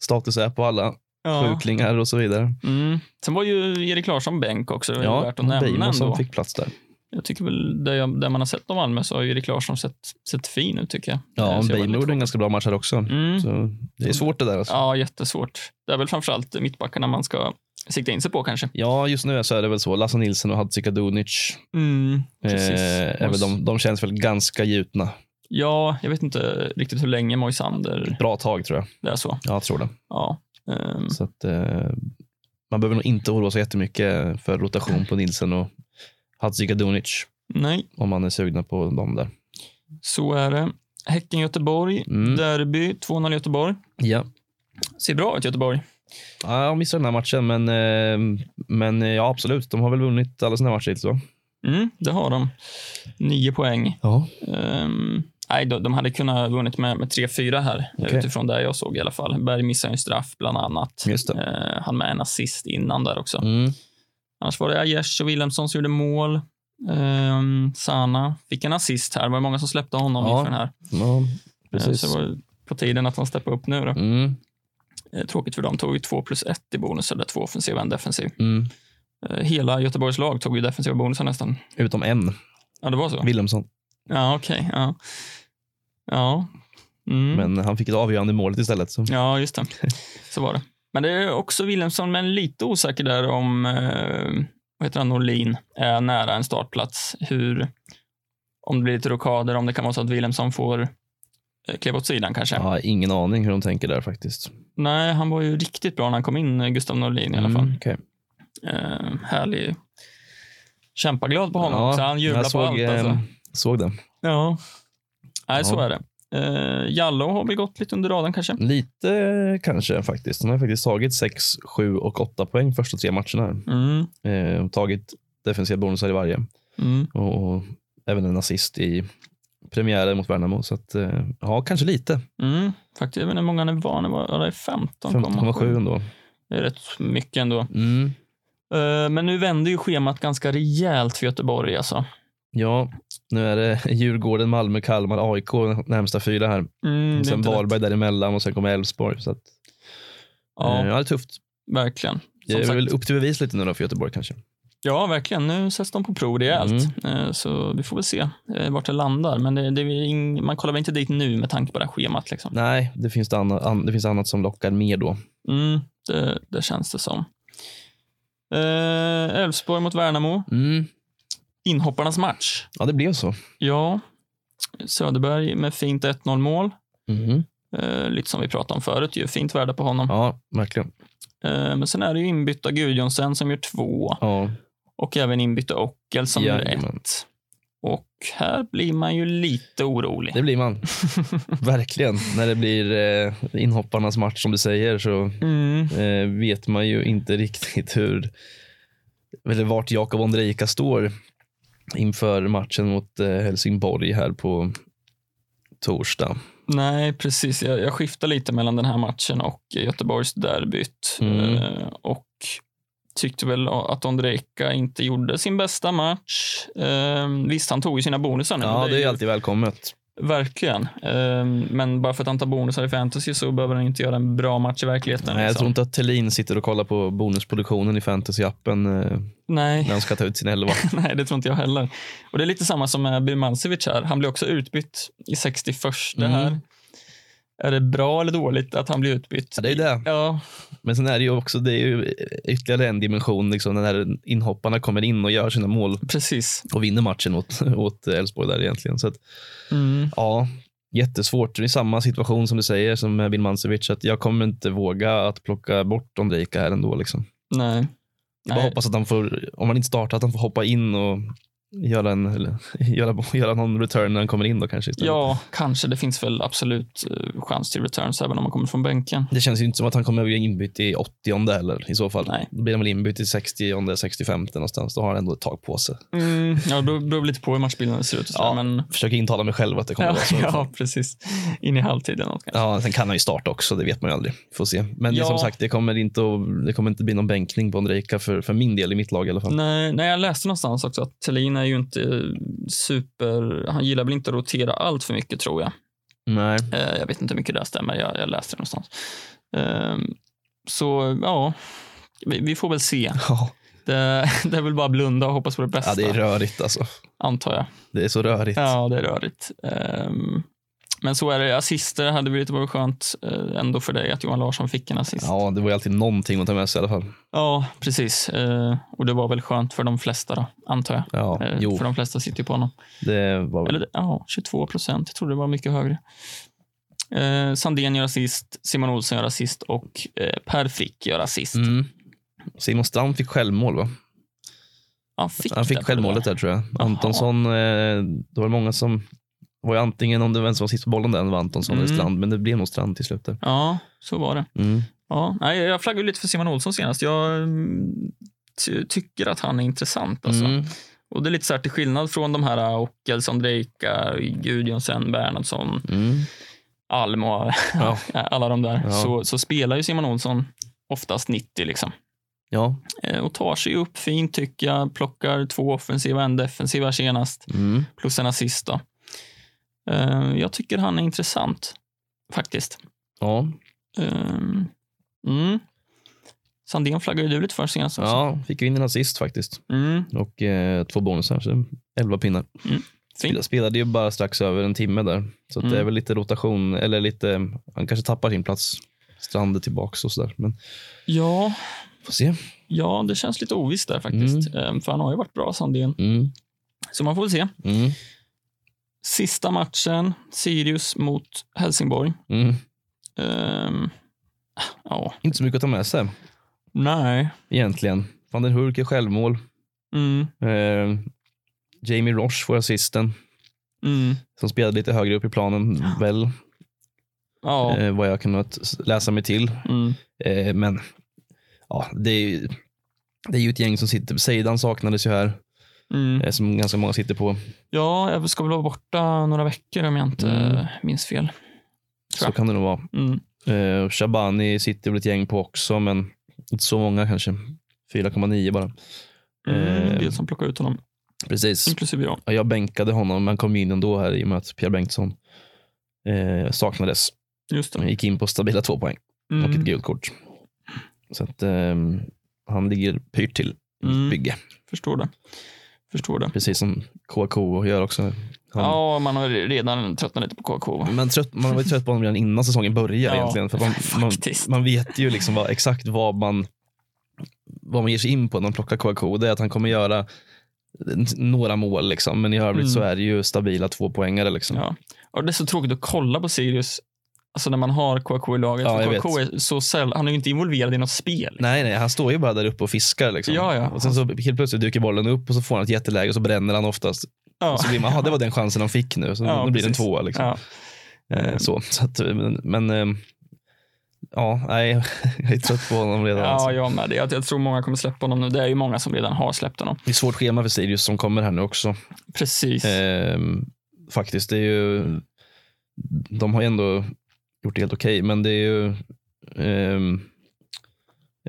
Speaker 2: status är på alla
Speaker 3: ja.
Speaker 2: sjuklingar och så vidare.
Speaker 3: mm. Sen var ju Erik Larsson bänk också. Det är ja,
Speaker 2: Ja,
Speaker 3: värt att nämna
Speaker 2: Beijmo
Speaker 3: ändå.
Speaker 2: som fick plats där.
Speaker 3: Jag tycker väl där, jag, där man har sett av Malmö så har ju Erik Larsson sett, sett fin ut tycker jag.
Speaker 2: Ja,
Speaker 3: Så jag var
Speaker 2: Beijmo
Speaker 3: lite
Speaker 2: gjorde en ganska bra match här också.
Speaker 3: Mm.
Speaker 2: Så det är svårt det där. Alltså.
Speaker 3: Ja, jättesvårt. Det är väl framförallt mittbackarna man ska sikta in sig på kanske.
Speaker 2: Ja, just nu så är det väl så. Lasse Nilsson och Hadzika Dunic.
Speaker 3: Mm,
Speaker 2: Eh, är väl de, de känns väl ganska gjutna.
Speaker 3: Ja, jag vet inte riktigt hur länge Moisander
Speaker 2: Bra tag tror jag.
Speaker 3: det är så.
Speaker 2: Ja, jag tror det.
Speaker 3: Ja. ehm,
Speaker 2: Så att, eh, man behöver nog inte oroa sig jättemycket för rotation på Nilsson och Hadzika Dunic.
Speaker 3: nej,
Speaker 2: om man är sugna på dem där.
Speaker 3: så är det. Häcken-Göteborg,
Speaker 2: Mm.
Speaker 3: derby, 2-0 Göteborg.
Speaker 2: Ja.
Speaker 3: Ser bra ut Göteborg.
Speaker 2: Ja, jag missade den här matchen, men, eh, men eh, ja, absolut. De har väl vunnit alla sina matcher hittills, va?
Speaker 3: Mm, det har de. Nio poäng.
Speaker 2: Ja.
Speaker 3: Ehm, nej, de, de hade kunnat ha vunnit med, med 3-4 här, eh,
Speaker 2: Okej.
Speaker 3: utifrån det jag såg i alla fall. Berg missade ju en straff, bland annat.
Speaker 2: Just det.
Speaker 3: Eh, han med en assist innan där också.
Speaker 2: Mm.
Speaker 3: Annars var det Aiesh och Wilhelmsson som gjorde mål. Ehm, Sana fick en assist här. Det var många som släppte honom
Speaker 2: Ja,
Speaker 3: inför den här.
Speaker 2: ja
Speaker 3: Ehm,
Speaker 2: precis.
Speaker 3: Så det var på tiden att han steppade upp nu. Då.
Speaker 2: Mm.
Speaker 3: Ehm, Tråkigt för dem. Tog ju 2 plus 1 i bonus, eller två offensiva och en defensiv.
Speaker 2: Mm.
Speaker 3: Ehm, Hela Göteborgs lag tog ju defensiva bonusar nästan.
Speaker 2: Utom en,
Speaker 3: Ja, det var så?
Speaker 2: Wilhelmsson.
Speaker 3: Ja, okej. ja. Ja. Mm.
Speaker 2: Men han fick ett avgörande i målet istället. Så. [LAUGHS]
Speaker 3: ja, just det. Så var det. Men det är också Wilhelmsson, men lite osäker där om eh, vad heter han, Norlin är nära en startplats. Hur, om det blir lite rockader, om det kan vara så att Wilhelmsson får eh, kliva åt sidan kanske.
Speaker 2: Jag har ingen aning hur de tänker där faktiskt.
Speaker 3: Nej, han var ju riktigt bra när han kom in, eh, Gustav Norlin i alla fall.
Speaker 2: Mm, okej.
Speaker 3: Eh, härlig. Kämpaglad på honom
Speaker 2: Ja,
Speaker 3: också. Han jublar
Speaker 2: jag
Speaker 3: på
Speaker 2: såg,
Speaker 3: allt.
Speaker 2: eh,
Speaker 3: Alltså.
Speaker 2: såg det.
Speaker 3: Ja. Nej, så
Speaker 2: Ja.
Speaker 3: är det. Eh, Jallow har väl gått lite under radarn kanske.
Speaker 2: Lite eh, kanske faktiskt. De har faktiskt tagit 6, 7 och 8 poäng första tre matcherna.
Speaker 3: Mm.
Speaker 2: här. Eh, tagit defensiva bonusar i varje.
Speaker 3: Mm.
Speaker 2: och, och även en assist i premiären mot Värnamo. Så att, eh, ja, kanske lite.
Speaker 3: Mm. Faktiskt, jag vet inte hur många han är van. Det var- ja, det är
Speaker 2: 15,7
Speaker 3: 15,7.
Speaker 2: ändå.
Speaker 3: Det är rätt mycket ändå.
Speaker 2: Mm.
Speaker 3: Eh, men nu vänder ju schemat ganska rejält för Göteborg alltså.
Speaker 2: Ja, nu är det [LAUGHS] Djurgården, Malmö, Kalmar, AIK närmsta fyra här.
Speaker 3: Mm,
Speaker 2: sen
Speaker 3: inte lätt.
Speaker 2: Varberg däremellan och sen kommer Elfsborg. Så att, ja. Eh,
Speaker 3: Ja,
Speaker 2: ja, det är tufft.
Speaker 3: verkligen.
Speaker 2: Det
Speaker 3: Som
Speaker 2: är
Speaker 3: sagt,
Speaker 2: väl upp till bevis lite nu då för Göteborg kanske.
Speaker 3: Ja, verkligen. Nu sätts de på prov rejält. Eh, Så vi får väl se eh, vart det landar. Men det, det är väl ing- man kollar väl inte dit nu med tanke på det här schemat. Liksom.
Speaker 2: Nej, det finns, det, anna, an, det finns annat som lockar mer då.
Speaker 3: Mm, det, det känns det som. Eh, Elfsborg mot Värnamo.
Speaker 2: Mm.
Speaker 3: Inhopparnas match.
Speaker 2: Ja, det blev så.
Speaker 3: Ja, Söderberg med fint 1-0 mål.
Speaker 2: Mhm.
Speaker 3: Eh, lite som vi pratade om förut, ju. fint värde på honom.
Speaker 2: Ja, verkligen.
Speaker 3: Eh, men sen är det ju inbytta Gudjonsen som gör två
Speaker 2: Ja.
Speaker 3: och även inbytta Ockel som gör
Speaker 2: Jajamän.
Speaker 3: ett. Och här blir man ju lite orolig.
Speaker 2: Det
Speaker 3: [LAUGHS]
Speaker 2: blir man. verkligen. När det blir eh, inhopparnas match som du säger så
Speaker 3: Mm,
Speaker 2: eh, vet man ju inte riktigt hur eller vart Jakob Ondrejka står inför matchen mot eh, Helsingborg här på torsdag.
Speaker 3: nej, precis. Jag, jag skiftar lite mellan den här matchen och Göteborgs derbyt.
Speaker 2: Mm.
Speaker 3: Eh, och tyckte väl att Ondrejka inte gjorde sin bästa match. Eh, visst, han tog ju sina bonusar nu.
Speaker 2: Ja,
Speaker 3: men
Speaker 2: det är ju alltid välkommet.
Speaker 3: Verkligen. Ehm, Men bara för att han tar bonusar i fantasy så behöver han inte göra en bra match i verkligheten.
Speaker 2: Nej, jag
Speaker 3: liksom.
Speaker 2: tror inte att Thelin sitter och kollar på bonusproduktionen i fantasyappen eh, när
Speaker 3: Nej.
Speaker 2: han ska ta ut sin [LAUGHS] elva.
Speaker 3: [LAUGHS] Nej, det tror inte jag heller. Och Det är lite samma som med Birmancevic här. Han blir också utbytt i 61
Speaker 2: Mm.
Speaker 3: här. Är det bra eller dåligt att han blir utbytt?
Speaker 2: Ja, det är ju det.
Speaker 3: Ja,
Speaker 2: Men sen är det ju också det är ju ytterligare en dimension liksom, när inhopparna kommer in och gör sina mål
Speaker 3: precis.
Speaker 2: och vinner matchen åt åt Elfsborg där egentligen. Så att,
Speaker 3: Mm.
Speaker 2: Ja, jättesvårt. Det är samma situation som du säger som med Birmancevic, att jag kommer inte våga att plocka bort Ondrejka här ändå. Liksom.
Speaker 3: Nej.
Speaker 2: Jag bara
Speaker 3: Nej.
Speaker 2: hoppas att han får, om han inte startar, att han får hoppa in och göra, en, eller, [LAUGHS] göra, göra någon return när han kommer in då kanske istället.
Speaker 3: Ja, kanske. Det finns väl absolut eh, chans till returns även om man kommer från bänken.
Speaker 2: Det känns ju inte som att han kommer att bli inbytt i 80 heller i så fall.
Speaker 3: Nej.
Speaker 2: Då blir han väl inbytt i 60 65 någonstans. Då har han ändå ett tag på sig.
Speaker 3: Ja, det beror, beror lite på hur matchbilden ser ut. Och
Speaker 2: Mm. Ja,
Speaker 3: ja, men,
Speaker 2: Försöker intala mig själv att det kommer
Speaker 3: [LAUGHS] ja,
Speaker 2: att vara så.
Speaker 3: ja, precis. In i halvtid eller något kanske.
Speaker 2: Ja, sen kan han ju starta också, det vet man ju aldrig. Får se. Men det är
Speaker 3: Ja.
Speaker 2: som sagt, det kommer inte, att, det kommer inte bli någon bänkning på Ondrejka för, för min del i mitt lag i alla fall.
Speaker 3: Nej, nej, jag läste någonstans också att Thelin är ju inte eh, super... Han gillar väl inte att rotera allt för mycket, tror jag.
Speaker 2: Nej.
Speaker 3: Eh, jag vet inte hur mycket det här stämmer. Jag, jag läste det någonstans. Ehm, så, ja. Vi, vi får väl se.
Speaker 2: [LAUGHS] Ja,
Speaker 3: Det, [LAUGHS] det är väl bara blunda och hoppas på det bästa,
Speaker 2: ja, det är rörigt alltså.
Speaker 3: antar jag.
Speaker 2: Det är så rörigt.
Speaker 3: Ja, det är rörigt. Ehm, men så är det. Assister hade vi lite varit skönt eh, ändå för dig att Johan Larsson fick en assist. Ja,
Speaker 2: Ja, det var ju alltid någonting att ta med sig i alla fall.
Speaker 3: precis. Eh, och det var väl skönt för de flesta då, antar jag.
Speaker 2: Ja,
Speaker 3: Eh,
Speaker 2: jo,
Speaker 3: För de flesta sitter ju på honom.
Speaker 2: det var väl...
Speaker 3: Eller ja, 22 procent. Jag trodde det var mycket högre. Eh, Sandén gör assist, Simon Olsson gör assist och eh, Per Frick gör assist.
Speaker 2: Mm. Simon Strand fick självmål, va?
Speaker 3: Han fick,
Speaker 2: Han
Speaker 3: det
Speaker 2: fick
Speaker 3: på det
Speaker 2: självmålet
Speaker 3: där.
Speaker 2: där tror jag. Antonsson, eh, det var många som det var ju antingen om det var vem som var sist på bollen där, det var Antonsson eller
Speaker 3: Mm.
Speaker 2: Strand, men det blev nog Strand till slut. Där.
Speaker 3: Ja, så var det.
Speaker 2: Mm.
Speaker 3: Ja, nej, jag flaggade ju lite för Simon Olsson senast. Jag mm, ty- tycker att han är intressant. Alltså.
Speaker 2: Mm.
Speaker 3: Och det är lite så här till skillnad från de här äh, Ockels, Andrejka, Gudjonsen, Bernhardsson,
Speaker 2: Mm.
Speaker 3: Alm och
Speaker 2: Ja.
Speaker 3: [LAUGHS] alla de där.
Speaker 2: Ja.
Speaker 3: Så, så spelar ju Simon Olsson oftast 90 liksom.
Speaker 2: Ja.
Speaker 3: Eh, Och tar sig upp fint tycker jag. Plockar två offensiva, en defensiva senast.
Speaker 2: Mm.
Speaker 3: Plus en assist då. Eh, Jag tycker han är intressant faktiskt.
Speaker 2: ja.
Speaker 3: Eh, Mm. Sandén flaggade ju du lite för senast också.
Speaker 2: Ja, fick ju in en assist faktiskt
Speaker 3: Mm.
Speaker 2: och eh, två bonusar, så elva pinnar.
Speaker 3: Mm.
Speaker 2: Spel- Spelade ju bara strax över en timme där, så att det
Speaker 3: Mm.
Speaker 2: är väl lite rotation, eller lite, han kanske tappar sin plats. Strand är tillbaks och sådär, men
Speaker 3: ja,
Speaker 2: får se.
Speaker 3: ja, det känns lite ovisst där faktiskt. Eh, För han har ju varit bra, Sandén.
Speaker 2: Mm.
Speaker 3: Så man får väl se.
Speaker 2: Mm.
Speaker 3: Sista matchen, Sirius mot Helsingborg.
Speaker 2: Mm.
Speaker 3: Ehm, ja,
Speaker 2: Inte så mycket att ta med sig
Speaker 3: nej.
Speaker 2: egentligen. Van den Hurk är självmål.
Speaker 3: Mm,
Speaker 2: Eh, Jamie Roche får assisten,
Speaker 3: mm,
Speaker 2: som spelade lite högre upp i planen, väl,
Speaker 3: ja,
Speaker 2: eh, vad jag kunnat s- läsa mig till.
Speaker 3: mm,
Speaker 2: Eh, men ja, det är, ju- det är ju ett gäng som sitter, Seidan saknades ju här,
Speaker 3: mm.
Speaker 2: eh, som ganska många sitter på.
Speaker 3: Ja, jag ska väl vara borta några veckor om jag inte
Speaker 2: Mm.
Speaker 3: minns fel.
Speaker 2: Så
Speaker 3: Ja.
Speaker 2: kan det nog vara.
Speaker 3: Mm,
Speaker 2: Eh, och Shabani sitter väl ett gäng på också, men inte så många kanske. 4,9 bara.
Speaker 3: mm,
Speaker 2: Ehm.
Speaker 3: det som plockar ut honom,
Speaker 2: Precis.
Speaker 3: inklusive jag.
Speaker 2: Ja, Jag bänkade honom, men kom in ändå här i och med att Pierre Bengtsson eh, saknades.
Speaker 3: Just det.
Speaker 2: Gick in på stabila två poäng och ett
Speaker 3: Mm,
Speaker 2: gult kort. Så att ehm, han ligger pyrt till i mitt
Speaker 3: Mm.
Speaker 2: bygge,
Speaker 3: förstår det. Förstår det.
Speaker 2: precis som KK gör också. Han,
Speaker 3: Ja, man har redan tröttnat lite på KK. va?
Speaker 2: Men trött, man var ju trött på honom redan innan säsongen började
Speaker 3: Ja,
Speaker 2: egentligen. För man, man,
Speaker 3: faktiskt.
Speaker 2: man vet ju liksom vad, exakt vad man, vad man ger sig in på när man plockar KK. Det är att han kommer göra n- några mål, liksom. men i övrigt
Speaker 3: Mm.
Speaker 2: så är det ju stabila tvåpoängare. Liksom.
Speaker 3: Ja. Och det är så tråkigt att kolla på Sirius Alltså när man har KK i laget.
Speaker 2: Ja,
Speaker 3: för
Speaker 2: jag
Speaker 3: KK är så säll- han är ju inte involverad i något spel.
Speaker 2: Nej, nej, han står ju bara där uppe och fiskar. Liksom.
Speaker 3: Ja, ja.
Speaker 2: Och sen så helt plötsligt dyker bollen upp och så får han ett jätteläge och så bränner han oftast.
Speaker 3: Ja.
Speaker 2: Och så blir man, "Jaha, alltså
Speaker 3: [LAUGHS]
Speaker 2: det var den chansen han fick nu. Så
Speaker 3: Ja,
Speaker 2: då blir det en
Speaker 3: precis.
Speaker 2: tvåa. Liksom.
Speaker 3: Ja.
Speaker 2: Eh, Så, så att, men, men ehm, ja, nej, [LAUGHS] jag är trött på honom redan. alltså.
Speaker 3: Ja, jag med. Jag, jag tror många kommer släppa honom nu. Det är ju många som redan har släppt honom.
Speaker 2: Det är ett svårt schema för Sirius som kommer här nu också.
Speaker 3: Precis.
Speaker 2: Ehm, faktiskt, det är ju... De har ju ändå gjort det helt okej, men det är ju... ehm,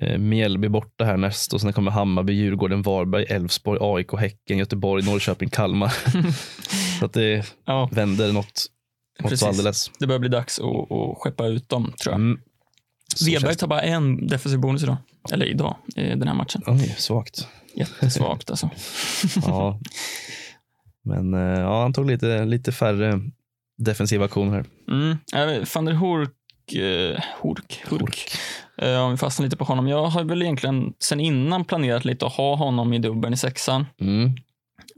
Speaker 2: eh, Mjällby borta här näst och sen kommer Hammarby, Djurgården, Varberg, Elfsborg, AIK, Häcken, Göteborg, Norrköping,
Speaker 3: [LAUGHS]
Speaker 2: Kalmar. så att det
Speaker 3: ja,
Speaker 2: vänder något, något
Speaker 3: Precis.
Speaker 2: så alldeles.
Speaker 3: det börjar bli dags att, att skeppa ut dem, tror jag.
Speaker 2: Mm. Så
Speaker 3: Weberg
Speaker 2: känns det.
Speaker 3: tar bara en defensiv bonus idag. Eller idag, i den här matchen.
Speaker 2: Oj, svagt.
Speaker 3: Jättesvagt alltså. [LAUGHS]
Speaker 2: Ja. Men eh, ja, han tog lite, lite färre defensiva aktioner här.
Speaker 3: Mm. Äh, Van der Hork, eh, Hork, Hurk. Eh, om vi fastnar lite på honom. Jag har väl egentligen sen innan planerat lite att ha honom i dubbeln i sexan.
Speaker 2: Mm.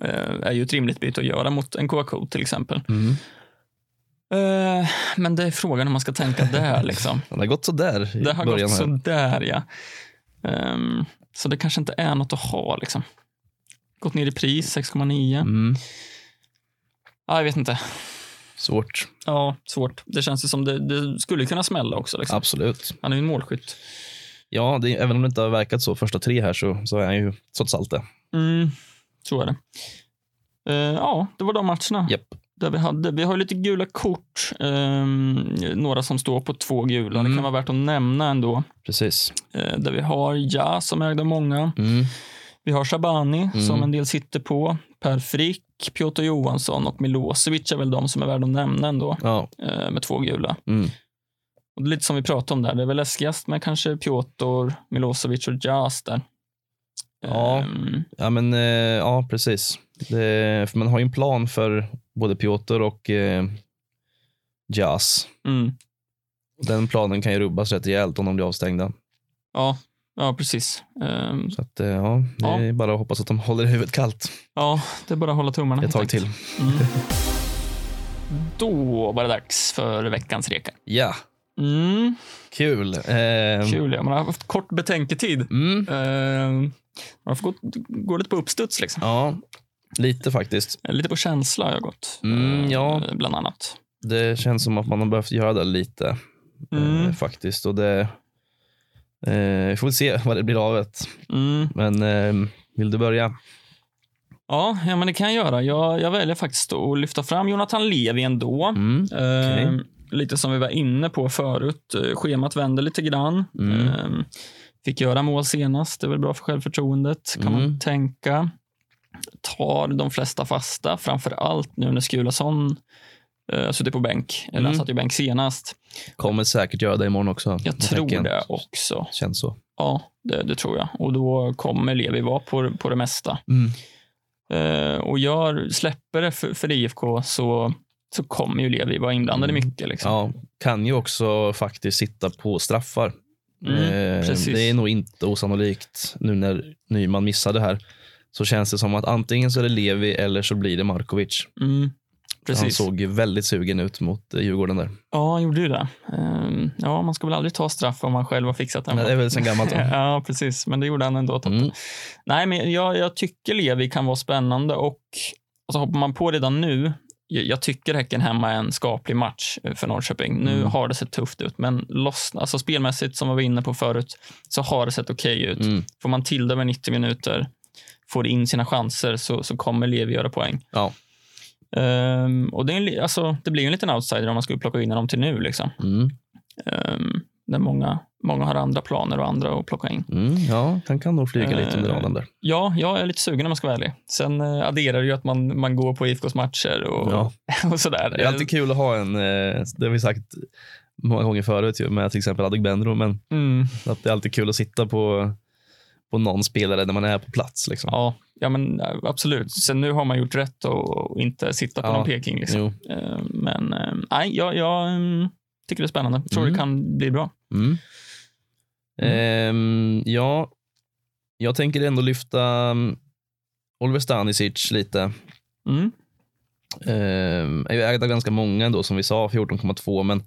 Speaker 3: Eh, är ju ett rimligt byte att göra mot en KK till exempel.
Speaker 2: Mm.
Speaker 3: Eh, men det är frågan hur man ska tänka där liksom.
Speaker 2: Det har gått sådär [LAUGHS] i
Speaker 3: Det har
Speaker 2: början
Speaker 3: gått
Speaker 2: här.
Speaker 3: sådär, ja. Ehm, så det kanske inte är något att ha. Liksom. Gått ner i pris, 6,9.
Speaker 2: Mm.
Speaker 3: Ja, jag vet inte.
Speaker 2: Svårt.
Speaker 3: Ja, svårt. Det känns ju som det, det skulle kunna smälla också. Liksom.
Speaker 2: Absolut.
Speaker 3: Han är ju en målskytt.
Speaker 2: Ja, det, även om det inte har verkat så första tre här så, så är han ju trots allt det.
Speaker 3: Mm, så är det. Eh, ja, det var de matcherna.
Speaker 2: Japp.
Speaker 3: Där vi, hade. vi har lite gula kort. ehm, några som står på två gula. Det
Speaker 2: Mm.
Speaker 3: kan vara värt att nämna ändå.
Speaker 2: Precis.
Speaker 3: Eh, där vi har Ja som ägde många.
Speaker 2: Mm.
Speaker 3: Vi har Shabani
Speaker 2: Mm.
Speaker 3: som en del sitter på. Per Frick, Piotr Johansson och Milosevic är väl de som är värda att nämna ändå
Speaker 2: Ja.
Speaker 3: eh, med två gula.
Speaker 2: Mm.
Speaker 3: Och det är lite som vi pratade om där, det är väl läskigast med kanske Piotr, Milosevic och Jas där.
Speaker 2: Ja.
Speaker 3: Ehm,
Speaker 2: Ja, men eh, ja, precis. Det, för man har ju en plan för både Piotr och eh, Jazz.
Speaker 3: mm.
Speaker 2: Den planen kan ju rubbas rätt rejält om de blir avstängda.
Speaker 3: ja, ja, precis. Ehm,
Speaker 2: Så att, eh, ja, det
Speaker 3: Ja.
Speaker 2: är bara att hoppas att de [LAUGHS] håller huvudet kallt
Speaker 3: ja, det är bara att hålla tummarna.
Speaker 2: ett tag
Speaker 3: helt
Speaker 2: till.
Speaker 3: enkelt. Mm. Då var det dags för veckans rekar.
Speaker 2: Ja,
Speaker 3: Mm.
Speaker 2: kul. Eh,
Speaker 3: Kul, ja. man har haft kort betänketid.
Speaker 2: Mm,
Speaker 3: Ehm, man får gå, gå lite på uppstuds. Liksom.
Speaker 2: ja, lite faktiskt.
Speaker 3: Lite på känsla har jag gått.
Speaker 2: Mm,
Speaker 3: ehm,
Speaker 2: ja.
Speaker 3: Bland annat.
Speaker 2: Det känns som att man har behövt göra det lite eh,
Speaker 3: Mm.
Speaker 2: faktiskt. Och det, eh, vi får väl se vad det blir av det.
Speaker 3: Mm.
Speaker 2: Men eh, vill du börja?
Speaker 3: Ja, ja, men det kan jag göra. Jag, jag väljer faktiskt att lyfta fram Jonathan Levi ändå.
Speaker 2: Mm.
Speaker 3: Ehm, Lite som vi var inne på förut. eh, Schemat vänder lite grann.
Speaker 2: Mm.
Speaker 3: Ehm, fick göra mål senast. Det är väl bra för självförtroendet, kan man
Speaker 2: Mm.
Speaker 3: tänka. Tar de flesta fasta, framför allt nu när Skulason eh, suttit på bänk. Eller han
Speaker 2: Mm.
Speaker 3: satt ju bänk senast.
Speaker 2: Kommer säkert göra det imorgon också.
Speaker 3: Jag tror
Speaker 2: tänker.
Speaker 3: det också.
Speaker 2: Känns så.
Speaker 3: Ja, det, det tror jag. Och då kommer Levi vara på, på det mesta.
Speaker 2: Mm.
Speaker 3: Eh, och gör, släpper det för, för IFK så, så kommer ju Levi vara inblandad i
Speaker 2: Mm.
Speaker 3: mycket. Liksom.
Speaker 2: Ja, kan ju också faktiskt sitta på straffar.
Speaker 3: Mm,
Speaker 2: Eh,
Speaker 3: precis.
Speaker 2: det är nog inte osannolikt nu när Nyman missade här. Så känns det som att antingen så är det Levi eller så blir det Markovic.
Speaker 3: Mm,
Speaker 2: Han
Speaker 3: precis.
Speaker 2: såg ju väldigt sugen ut mot eh, Djurgården där.
Speaker 3: Ja, han gjorde ju det. Ehm, ja, man ska väl aldrig ta straff om man själv har fixat den.
Speaker 2: Men det är
Speaker 3: [LAUGHS]
Speaker 2: väl sen gammalt. va?
Speaker 3: ja, precis. Men det gjorde han ändå. Totte.
Speaker 2: Mm.
Speaker 3: Nej, men jag, jag tycker Levi kan vara spännande och och så hoppar man på redan nu. Jag, jag tycker Häcken hemma är en skaplig match eh, för Norrköping. Nu
Speaker 2: Mm.
Speaker 3: har det sett tufft ut, men loss, alltså spelmässigt, som vi var inne på förut, så har det sett okej ut.
Speaker 2: Mm.
Speaker 3: Får man till det med 90 minuter, får in sina chanser, så, så kommer Levi göra poäng.
Speaker 2: Ja.
Speaker 3: Ehm, och det, är en, li- alltså, det blir ju en liten outsider om man skulle plocka in honom till nu. Liksom.
Speaker 2: Mm.
Speaker 3: Ehm, där många, många har andra planer och andra att plocka in.
Speaker 2: Mm. Ja, han kan nog flyga lite under
Speaker 3: Eh,
Speaker 2: radarn där.
Speaker 3: Ja, jag är lite sugen om man ska vara ärlig. Sen eh, adderar det ju att man, man går på IFKs matcher och,
Speaker 2: Ja.
Speaker 3: [LAUGHS] och sådär.
Speaker 2: Det är alltid kul att ha en, eh, det har vi sagt många gånger förut ju, med till exempel Adegbenro, men
Speaker 3: Mm,
Speaker 2: att det är alltid kul att sitta på, på någon spelare när man är på plats. Liksom.
Speaker 3: ja, ja, men eh, absolut. Sen nu har man gjort rätt och, och inte sitta på
Speaker 2: Ja.
Speaker 3: någon peking. Liksom.
Speaker 2: Jo.
Speaker 3: Eh, Men eh, nej, jag, jag mm, tycker det är spännande. Tror
Speaker 2: Mm.
Speaker 3: det kan bli bra.
Speaker 2: Mm. Ehm, ja, jag tänker ändå lyfta mm, Oliver Stanisic lite.
Speaker 3: Mm.
Speaker 2: Ehm, är ju ägd av ganska många ändå, som vi sa, 14,2, men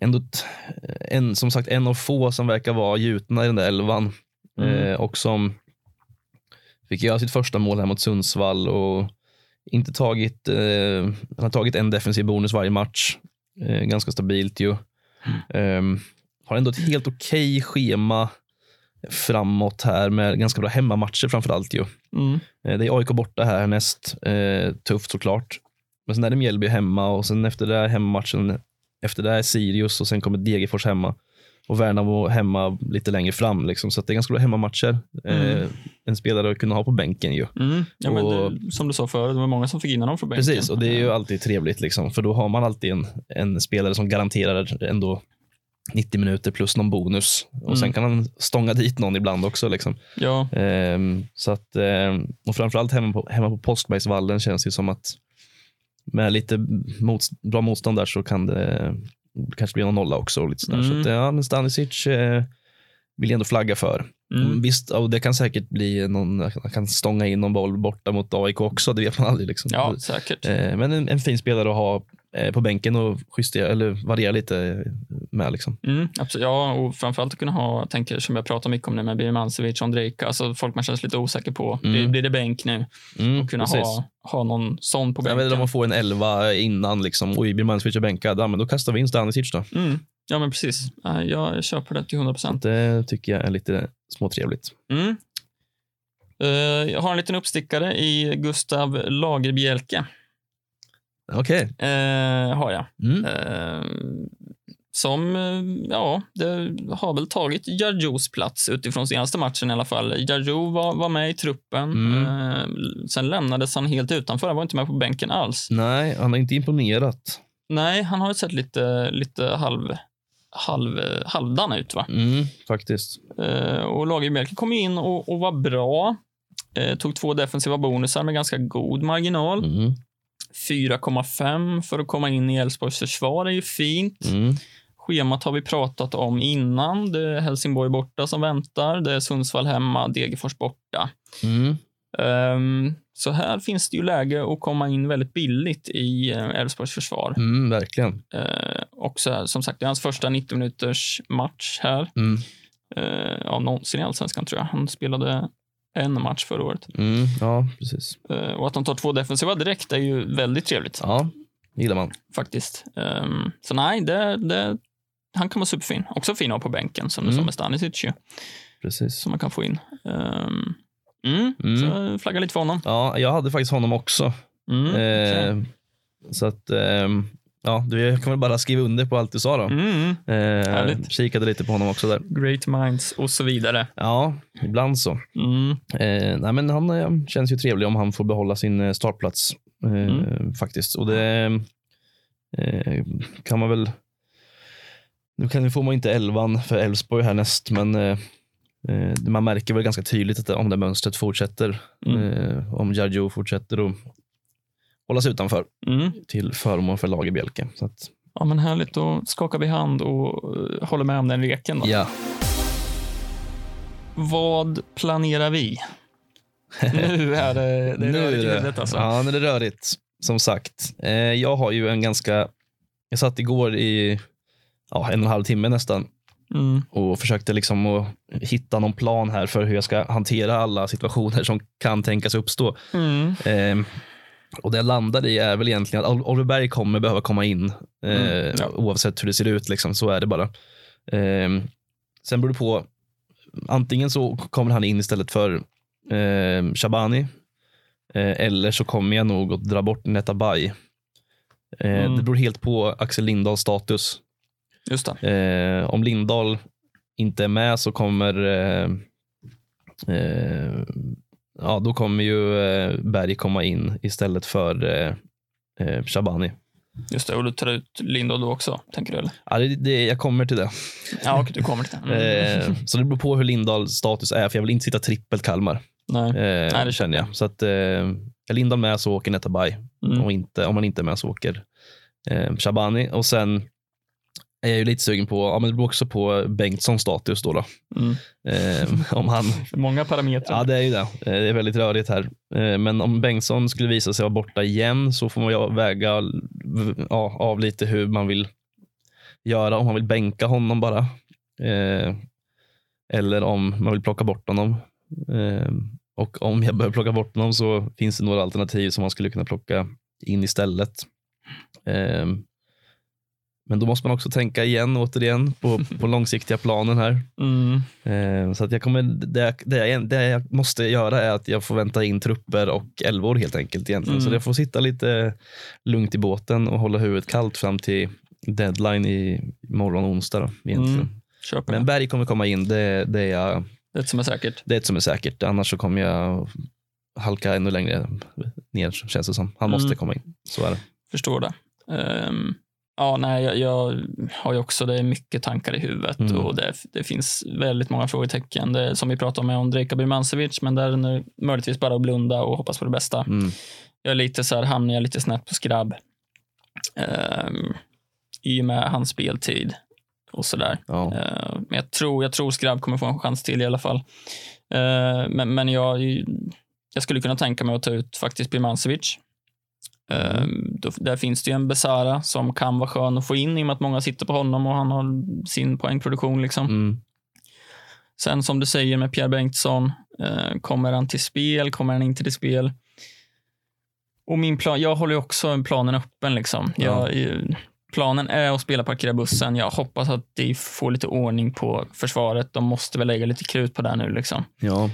Speaker 2: ändå t- en, som sagt en av få som verkar vara gjutna i den där elvan
Speaker 3: Mm.
Speaker 2: Eh, och som fick göra sitt första mål här mot Sundsvall och inte tagit, eh, han har tagit en defensiv bonus varje match. Eh, ganska stabilt ju. Ehm, har ändå ett helt okej schema framåt här med ganska bra hemmamatcher framför allt ju.
Speaker 3: Mm.
Speaker 2: Eh, Det är AIK borta här näst. Eh, tufft såklart. Men sen är det Mjällby hemma och sen efter det här hemmamatchen, efter det här är Sirius och sen kommer Degerfors hemma. Och Värnamo hemma lite längre fram. Liksom. Så att det är ganska bra hemmamatcher. Eh,
Speaker 3: Mm.
Speaker 2: en spelare att kunna ha på bänken ju.
Speaker 3: Mm. Ja, men
Speaker 2: Och-
Speaker 3: det, som du sa förut, det var många som fick in honom från bänken.
Speaker 2: Precis, och det är ju alltid trevligt. Liksom, för då har man alltid en, en spelare som garanterar ändå 90 minuter plus någon bonus. Och
Speaker 3: Mm.
Speaker 2: sen kan han stånga dit någon ibland också. Liksom.
Speaker 3: Ja,
Speaker 2: Ehm, så att, ehm, och framförallt hemma på, hemma på Påskbergsvallen känns det ju som att med lite mot, bra motstånd där så kan det kanske bli någon nolla också. Och lite sådär.
Speaker 3: Mm.
Speaker 2: Så att, ja, men Stanisic eh, vill jag ändå flagga för.
Speaker 3: mm.
Speaker 2: Visst, och det kan säkert bli någon, han kan stånga in någon boll borta mot AIK också, det vet man aldrig. Liksom.
Speaker 3: ja säkert.
Speaker 2: Eh, men en, en fin spelare att ha eh, på bänken och justera, eller variera lite med. Liksom.
Speaker 3: Mm, absolut. Ja, och framförallt att kunna ha, jag tänker som jag pratar mycket om nu med Birmancevic och Ondrejka, alltså folk man känner sig lite osäker på.
Speaker 2: Mm.
Speaker 3: Blir, blir det bänk nu?
Speaker 2: Mm,
Speaker 3: Och kunna
Speaker 2: precis.
Speaker 3: ha, ha någon sån på
Speaker 2: Jag vet
Speaker 3: bänken.
Speaker 2: inte om man får en elva innan liksom, och Birmancevic är bänkad, ja, men då kastar vi in Stanisic då.
Speaker 3: mm. Ja, men precis. Ja, Jag köper det till 100 procent.
Speaker 2: Det tycker jag är lite småtrevligt.
Speaker 3: Mm. Eh, jag har en liten uppstickare i Gustav Lagerbjälke.
Speaker 2: Okej.
Speaker 3: Eh, har jag.
Speaker 2: Mm.
Speaker 3: Eh, som, eh, ja, det har väl tagit Jarjous plats utifrån senaste matchen i alla fall. Jarjo var, var med i truppen.
Speaker 2: Mm.
Speaker 3: Eh, sen lämnades han helt utanför. Han var inte med på bänken alls.
Speaker 2: Nej, han har inte imponerat.
Speaker 3: Nej, han har ju sett lite, lite halv, halv, halvdan ut. Va?
Speaker 2: Mm, faktiskt.
Speaker 3: Eh, och Lagerbjälke kom ju in och, och var bra. Eh, tog två defensiva bonusar med ganska god marginal.
Speaker 2: Mm.
Speaker 3: 4,5 för att komma in i Elfsborgs försvar är ju fint.
Speaker 2: Mm.
Speaker 3: Schemat har vi pratat om innan. Det är Helsingborg borta som väntar. Det är Sundsvall hemma, Degerfors borta.
Speaker 2: Mm.
Speaker 3: Ehm, så här finns det ju läge att komma in väldigt billigt i eh, Elfsborgs försvar.
Speaker 2: Mm, verkligen.
Speaker 3: Ehm, och så här, som sagt, det är hans första 90 minuters match här.
Speaker 2: Mm.
Speaker 3: Uh, ja, någonsin i Allsvenskan tror jag. Han spelade en match förra året.
Speaker 2: Mm. Ja, precis.
Speaker 3: Ehm, och att de tar två defensiva direkt är ju väldigt trevligt
Speaker 2: Ja, gillar man.
Speaker 3: faktiskt. Ehm, så nej, det, det, han kan vara superfin. Också fin att ha på bänken som du
Speaker 2: Mm.
Speaker 3: sa med Stanisic ju.
Speaker 2: Precis.
Speaker 3: som man kan få in. Ehm, mm,
Speaker 2: Mm.
Speaker 3: Så jag flaggar lite för honom.
Speaker 2: Ja, jag hade faktiskt honom också.
Speaker 3: Mm, okej.
Speaker 2: Eh, så att, ehm, ja, du, jag kan väl bara skriva under på allt du sa då.
Speaker 3: mm.
Speaker 2: Eh,
Speaker 3: härligt.
Speaker 2: kikade lite på honom också där.
Speaker 3: Great minds och så vidare.
Speaker 2: Ja, ibland så.
Speaker 3: Mm.
Speaker 2: Eh, nej, men han eh, känns ju trevlig om han får behålla sin eh, startplats eh,
Speaker 3: Mm.
Speaker 2: faktiskt. Och det eh, kan man väl. Nu kan, nu får man inte elvan för Elfsborg härnäst, men eh, eh, man märker väl ganska tydligt att det- om det mönstret fortsätter,
Speaker 3: Mm.
Speaker 2: eh, om Jarjo fortsätter att hålla sig utanför
Speaker 3: Mm.
Speaker 2: till förmån för Lagerbjälke. Så att,
Speaker 3: Ja, men härligt, då skakar vi hand och eh, håller med om den leken. Då.
Speaker 2: ja.
Speaker 3: Vad
Speaker 2: [LAUGHS]
Speaker 3: planerar vi? nu är det, det är rörigt i huvudet alltså.
Speaker 2: Ja, nu är det rörigt. Som sagt, eh, jag har ju en ganska... Jag satt igår i ja, en och en halv timme nästan
Speaker 3: Mm.
Speaker 2: och försökte liksom att hitta någon plan här för hur jag ska hantera alla situationer som kan tänkas uppstå.
Speaker 3: Mm.
Speaker 2: Eh, och det jag landade i är väl egentligen att Ol- Oliver Berg kommer behöva komma in eh,
Speaker 3: Mm, ja.
Speaker 2: oavsett hur det ser ut. Liksom. Så är det bara. Eh, sen beror det på. Antingen så kommer han in istället för eh, Shabani eh, eller så kommer jag nog att dra bort Netabay. Eh,
Speaker 3: Mm.
Speaker 2: Det beror helt på Axel Lindahls status.
Speaker 3: Just det.
Speaker 2: Eh, om Lindahl inte är med så kommer eh, eh, ja, då kommer ju eh, Berg komma in istället för eh, eh, Shabani.
Speaker 3: Just det. Och du tar ut Lindahl då också, tänker du? Eller?
Speaker 2: Ja, det, det, jag kommer till det.
Speaker 3: Ja, okej, du kommer till det. Mm.
Speaker 2: Eh, så det beror på hur Lindahls status är, för jag vill inte sitta trippelt Kalmar.
Speaker 3: Nej.
Speaker 2: Eh,
Speaker 3: Nej, det
Speaker 2: det känner jag. Så att, eh, är Lindahl med så åker Netabay.
Speaker 3: Mm.
Speaker 2: Och inte, om man inte är med så åker eh, Shabani. Och sen är jag ju lite sugen på, ja, men det beror också på Bengtssons status då. då.
Speaker 3: Mm.
Speaker 2: Eh, [LAUGHS] om han,
Speaker 3: Många parametrar.
Speaker 2: ja det är ju det. Eh, Det är väldigt rörigt här. Eh, Men om Bengtsson skulle visa sig vara borta igen så får man ju väga v- ja, av lite hur man vill göra. Om man vill bänka honom bara. Eh, Eller om man vill plocka bort honom. Eh, Och om jag börjar plocka bort honom så finns det några alternativ som man skulle kunna plocka in istället. Eh, Men då måste man också tänka igen återigen på, på långsiktiga planen här.
Speaker 3: Mm.
Speaker 2: Eh, Så att jag kommer, det, jag, det, jag, det jag måste göra är att jag får vänta in trupper och elvor helt enkelt. Egentligen. Så
Speaker 3: Mm.
Speaker 2: jag får sitta lite lugnt i båten och hålla huvudet kallt fram till deadline i morgon onsdag. Då, egentligen.
Speaker 3: Mm. Köper
Speaker 2: Men
Speaker 3: det.
Speaker 2: Berg kommer komma in, det, det, är jag,
Speaker 3: Det är ett som är säkert.
Speaker 2: det är ett som är säkert. Annars så kommer jag halka ännu längre ner känns det som. Han måste
Speaker 3: Mm.
Speaker 2: komma in, så är det.
Speaker 3: Förstår det. Ehm, ja, nej, jag, jag har ju också det är mycket tankar i huvudet
Speaker 2: Mm.
Speaker 3: och det, det finns väldigt många frågetecken. Det, är som vi pratade med om Drejka Birmancevic, men där är det nu möjligtvis bara att blunda och hoppas på det bästa.
Speaker 2: Mm.
Speaker 3: Jag är lite så här, hamnar jag lite snett på skrabb Ehm, i och med hans speltid och sådär.
Speaker 2: Ja.
Speaker 3: Eh, Men jag tror, jag tror Skrabb kommer få en chans till i alla fall. Eh, Men, men jag, jag skulle kunna tänka mig att ta ut faktiskt Birmancevic. Eh, då, där finns det ju en Besara som kan vara skön att få in i och med att många sitter på honom och han har sin poängproduktion. Liksom.
Speaker 2: Mm.
Speaker 3: Sen som du säger med Pierre Bengtsson, eh, kommer han till spel? Kommer han inte till spel? Och min plan, jag håller ju också planen öppen. Liksom.
Speaker 2: Ja.
Speaker 3: Jag, eh, planen är att spela parkera bussen. Jag hoppas att de får lite ordning på försvaret. De måste väl lägga lite krut på det nu. Liksom.
Speaker 2: Ja.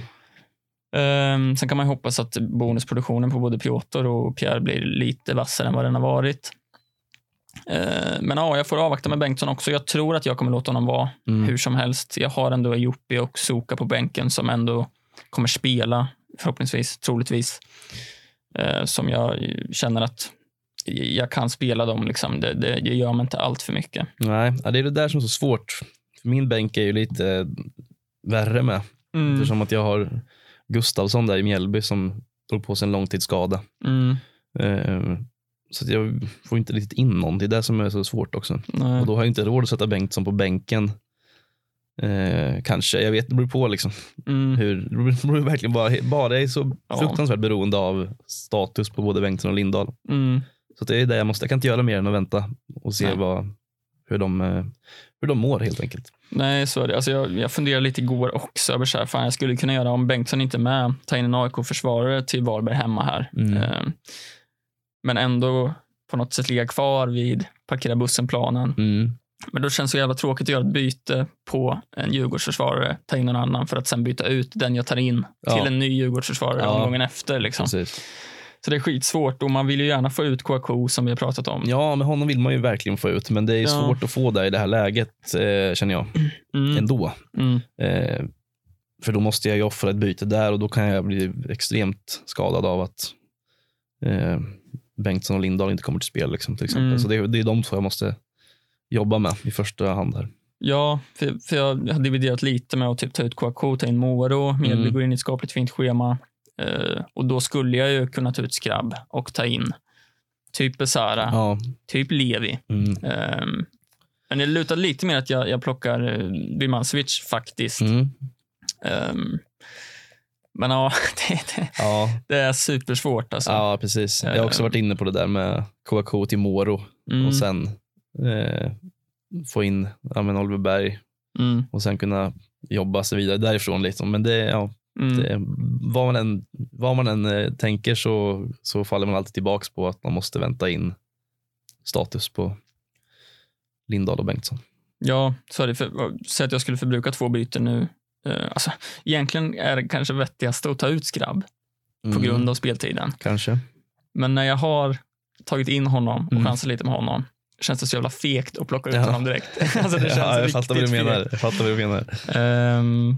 Speaker 3: Ehm, sen kan man ju hoppas att bonusproduktionen på både Piotr och Pierre blir lite vassare än vad den har varit. Ehm, men ja, jag får avvakta med Bengtsson också. Jag tror att jag kommer låta honom vara
Speaker 2: Mm.
Speaker 3: hur som helst. Jag har ändå Joppi och Soka på bänken som ändå kommer spela, förhoppningsvis, troligtvis. Eh, som jag känner att jag kan spela dem. Liksom. Det, det, det gör mig inte allt för mycket.
Speaker 2: Nej, ja, det är det där som är så svårt. För min bänk är ju lite eh, värre med.
Speaker 3: Mm.
Speaker 2: Eftersom att jag har Gustavsson där i Mjällby som drog på sig en långtidsskada.
Speaker 3: Mm.
Speaker 2: Eh, Så att jag får inte riktigt in någon. Det är det som är så svårt också.
Speaker 3: Nej.
Speaker 2: Och då har jag inte råd att sätta Bengtsson på bänken. Eh, kanske, jag vet, det beror på liksom.
Speaker 3: Mm.
Speaker 2: Hur, det beror verkligen bara, bara jag är så
Speaker 3: Ja.
Speaker 2: fruktansvärt beroende av status på både Bengtsson och Lindahl.
Speaker 3: Mm.
Speaker 2: Så att det är det jag måste, jag kan inte göra mer än att vänta och se
Speaker 3: Nej.
Speaker 2: vad, hur, de, eh, hur de mår helt enkelt.
Speaker 3: Nej, så är det. Alltså jag, jag funderade lite igår också över så här, fan jag skulle kunna göra om Bengtsson inte är med, ta in en AIK-försvarare till Varberg hemma här.
Speaker 2: Mm.
Speaker 3: Eh, men ändå på något sätt ligga kvar vid parkera bussen-planen.
Speaker 2: Mm.
Speaker 3: Men då känns det så jävla tråkigt att göra ett byte på en Djurgårdsförsvarare, ta in någon annan för att sen byta ut den jag tar in
Speaker 2: Ja.
Speaker 3: till en ny Djurgårdsförsvarare
Speaker 2: Ja.
Speaker 3: omgången efter. Liksom.
Speaker 2: Precis.
Speaker 3: Så det är skitsvårt och man vill ju gärna få ut KK som vi har pratat om.
Speaker 2: Ja, men honom vill man ju verkligen få ut, men det är
Speaker 3: Ja.
Speaker 2: svårt att få det i det här läget eh, känner jag
Speaker 3: Mm,
Speaker 2: ändå.
Speaker 3: mm,
Speaker 2: Eh, för då måste jag ju offra ett byte där och då kan jag bli extremt skadad av att eh, Bengtsson och Lindahl inte kommer till spel. Liksom, till exempel.
Speaker 3: Mm.
Speaker 2: Så det, är- det är de två jag måste jobba med i första hand. Här.
Speaker 3: ja, för, för jag har dividerat lite med att typ ta ut KK, ta in Moro, Mjällby
Speaker 2: Mm.
Speaker 3: går in i ett skapligt fint schema. Eh, och då skulle jag ju kunna ta ut Skrabb och ta in typ Besara,
Speaker 2: Ja.
Speaker 3: typ Levi.
Speaker 2: Mm.
Speaker 3: Eh, men det lutar lite mer att jag, jag plockar uh, Birmancevic faktiskt.
Speaker 2: Mm.
Speaker 3: Ehm, men ja, [LAUGHS] det, det,
Speaker 2: Ja,
Speaker 3: det är supersvårt. Alltså.
Speaker 2: ja, precis. Jag har också varit inne på det där med KK till Moro
Speaker 3: Eh. Mm,
Speaker 2: och sen eh, få in ja, men Oliver Berg
Speaker 3: mm,
Speaker 2: och sen kunna jobba sig vidare därifrån. Liksom. Men det, ja,
Speaker 3: mm,
Speaker 2: Det, vad, man än, vad man än eh, tänker så, så faller man alltid tillbaks på att man måste vänta in status på Lindahl och Bengtsson.
Speaker 3: Ja, så är det. För, så att jag skulle förbruka två byten nu. Eh, Alltså, egentligen är det kanske vettigast att ta ut Skrabb på grund av speltiden.
Speaker 2: Mm.
Speaker 3: [LAUGHS]
Speaker 2: Kanske.
Speaker 3: Men när jag har tagit in honom och
Speaker 2: Mm.
Speaker 3: chansat lite med honom känns det så jävla fegt att plocka ut
Speaker 2: Ja.
Speaker 3: honom direkt. [LAUGHS] alltså, det känns
Speaker 2: ja, jag
Speaker 3: riktigt
Speaker 2: fattar vad du menar.
Speaker 3: fegt.
Speaker 2: Jag fattar vad du menar.
Speaker 3: Ehm,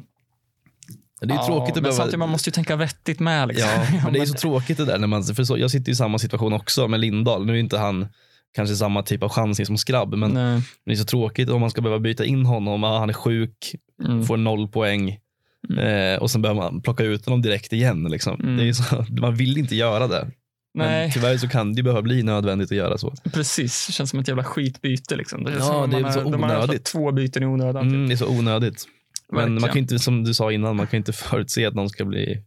Speaker 2: Det är ju
Speaker 3: ja,
Speaker 2: tråkigt att
Speaker 3: men samtidigt man
Speaker 2: behöva...
Speaker 3: måste ju tänka vettigt med. Liksom.
Speaker 2: Ja,
Speaker 3: [LAUGHS]
Speaker 2: men det är
Speaker 3: men-
Speaker 2: ju så tråkigt det där. När man, för så, jag sitter i samma situation också med Lindahl. Nu är inte han kanske samma typ av chansning som Skrabb, men
Speaker 3: Nej.
Speaker 2: det är så tråkigt om man ska behöva byta in honom. Ah, han är sjuk,
Speaker 3: Mm.
Speaker 2: får noll poäng eh, och sen behöver man plocka ut honom direkt igen. Liksom.
Speaker 3: Mm.
Speaker 2: Det är ju så, [LAUGHS] man vill inte göra det. Men
Speaker 3: Nej.
Speaker 2: tyvärr så kan det ju behöva bli nödvändigt att göra så.
Speaker 3: Precis, det känns som ett jävla skitbyte. Liksom. Det känns
Speaker 2: Ja,
Speaker 3: som att
Speaker 2: det är
Speaker 3: man
Speaker 2: så
Speaker 3: har- de har
Speaker 2: onödigt.
Speaker 3: ödslat två byten i onödan. typ.
Speaker 2: Mm, det är så onödigt. Men man
Speaker 3: Verkligen.
Speaker 2: kan ju inte, som du sa innan, man kan ju inte förutse att någon ska bli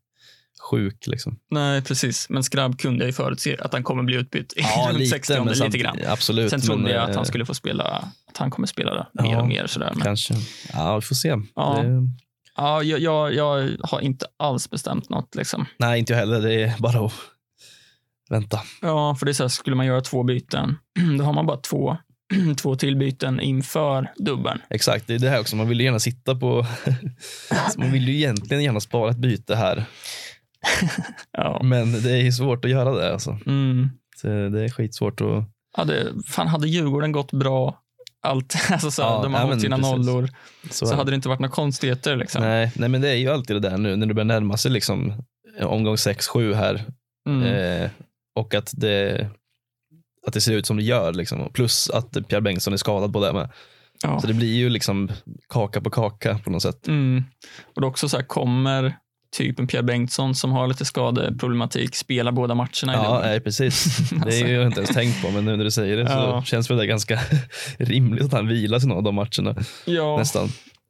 Speaker 2: sjuk.
Speaker 3: [LAUGHS]
Speaker 2: Liksom.
Speaker 3: Nej, precis. Men Skrabb kunde jag ju förutse att han kommer bli utbytt i [LAUGHS] runt 60 men lite
Speaker 2: samtidigt-
Speaker 3: grann.
Speaker 2: Absolut.
Speaker 3: Sen trodde
Speaker 2: men,
Speaker 3: jag att han
Speaker 2: eh,
Speaker 3: skulle få spela, att han kommer spela där mer
Speaker 2: Ja,
Speaker 3: och mer. Sådär. Men,
Speaker 2: Kanske. Ja, vi får se.
Speaker 3: Ja.
Speaker 2: Det,
Speaker 3: ja, jag, jag, jag har inte alls bestämt något. Liksom.
Speaker 2: nej, inte jag heller. Det är bara att vänta.
Speaker 3: Ja, för det är så här, skulle man göra två byten, [CLEARS THROAT] då har man bara två, [CLEARS THROAT] två till byten inför dubbeln.
Speaker 2: Exakt, det är det här också. Man vill ju gärna sitta på... [LAUGHS] Så man vill ju egentligen gärna spara ett byte här.
Speaker 3: Ja.
Speaker 2: Men det är ju svårt att göra det. Alltså.
Speaker 3: Mm.
Speaker 2: Så Det är skitsvårt att...
Speaker 3: Ja, det, fan, hade Djurgården gått bra, allt, [LAUGHS] alltså, så här,
Speaker 2: Ja,
Speaker 3: de har
Speaker 2: ja, men
Speaker 3: hållit sina
Speaker 2: precis.
Speaker 3: nollor,
Speaker 2: Så
Speaker 3: så
Speaker 2: är det.
Speaker 3: hade det inte varit några konstigheter. Liksom.
Speaker 2: Nej, nej, men det är ju alltid det där nu när du börjar närma sig liksom, eh, omgång 6-7 här
Speaker 3: Mm.
Speaker 2: eh, och att det, att det ser ut som det gör. Liksom. Plus att Pierre Bengtsson är skadad på det med.
Speaker 3: ja.
Speaker 2: Så det blir ju liksom kaka på kaka på något sätt.
Speaker 3: Mm. Och det är också så här, kommer typen Pierre Bengtsson som har lite skadeproblematik spela båda matcherna i
Speaker 2: ja, eh,
Speaker 3: Lund?
Speaker 2: nej,
Speaker 3: [LAUGHS]
Speaker 2: precis. Det är
Speaker 3: Alltså.
Speaker 2: ju jag inte ens tänkt på, men nu när du säger det så
Speaker 3: Ja.
Speaker 2: känns väl det ganska [LAUGHS] rimligt att han vilas i någon av de matcherna.
Speaker 3: ja,
Speaker 2: Nästan.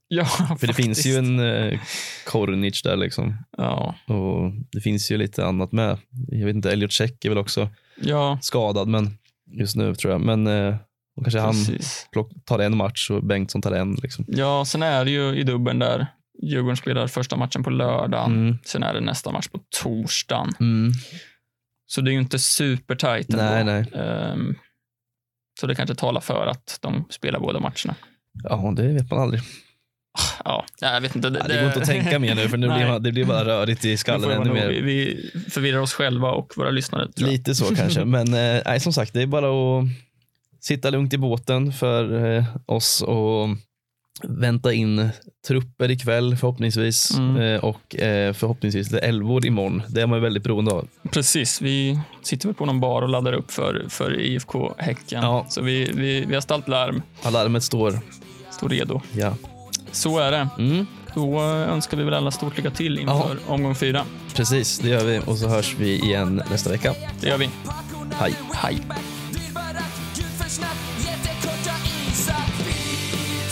Speaker 3: [LAUGHS] ja,
Speaker 2: För det finns ju en eh, Kornic där liksom.
Speaker 3: Ja,
Speaker 2: Och det finns ju lite annat med. Jag vet inte, Elliot Check är väl också
Speaker 3: Ja,
Speaker 2: skadad men just nu tror jag. Men eh, och kanske han
Speaker 3: precis.
Speaker 2: plock, tar en match och Bengtsson tar en. Liksom.
Speaker 3: Ja, sen är det ju i dubben där. Djurgården spelar första matchen på lördagen.
Speaker 2: Mm.
Speaker 3: Sen är det nästa match på torsdagen.
Speaker 2: Mm.
Speaker 3: Så det är ju inte supertajt ändå.
Speaker 2: Nej, nej.
Speaker 3: Ehm, så det kanske talar för att de spelar båda matcherna.
Speaker 2: Ja, det vet man aldrig.
Speaker 3: Ja, nej, jag vet inte.
Speaker 2: Ja, det går inte att tänka mer nu för nu
Speaker 3: [LAUGHS] Nej.
Speaker 2: blir man, det blir bara rörigt i
Speaker 3: Nu får
Speaker 2: skallen
Speaker 3: det
Speaker 2: ännu
Speaker 3: vara nog.
Speaker 2: mer.
Speaker 3: Vi vi förvirrar oss själva och våra lyssnare. Tror jag.
Speaker 2: Lite så
Speaker 3: [LAUGHS]
Speaker 2: kanske. Men eh, nej, som sagt, det är bara att sitta lugnt i båten för eh, oss och vänta in trupper ikväll förhoppningsvis
Speaker 3: Mm.
Speaker 2: eh, och eh, förhoppningsvis lite älvor imorgon. Det är man ju väldigt beroende av.
Speaker 3: Precis, vi sitter väl på någon bar och laddar upp för, för IFK Häcken.
Speaker 2: Ja.
Speaker 3: Så vi, vi, vi har ställt larm,
Speaker 2: Alarmet står.
Speaker 3: står redo.
Speaker 2: Ja.
Speaker 3: Så är det.
Speaker 2: Mm.
Speaker 3: Då eh, önskar vi väl alla stort lycka till inför omgång fyra.
Speaker 2: Precis, det gör vi och så hörs vi igen nästa vecka.
Speaker 3: Det gör vi.
Speaker 2: Hej.
Speaker 3: Hej.
Speaker 1: Dyrbärat, gud för snabbt, jättekorta isar. Vi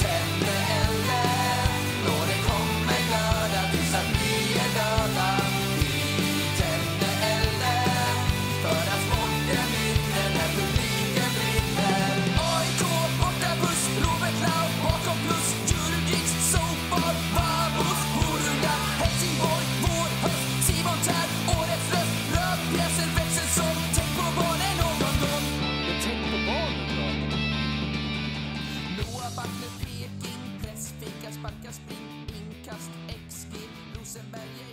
Speaker 1: tänder elden och det kommer glöda tills att vi är döda. Vi tänder elden för att sporten vinner när publiken brinner. AIK borta buss, Robert Laul bakom plus. Djurgårdens sopor, Babos, Borunda, Helsingborg, vår höst. Simon Tern, årets röst. Rödpjäser växer som, tänk på barnen någon gång. Noa Backe, Peking, press, fika, sparka, spring, inkast, XG, Rosenberg,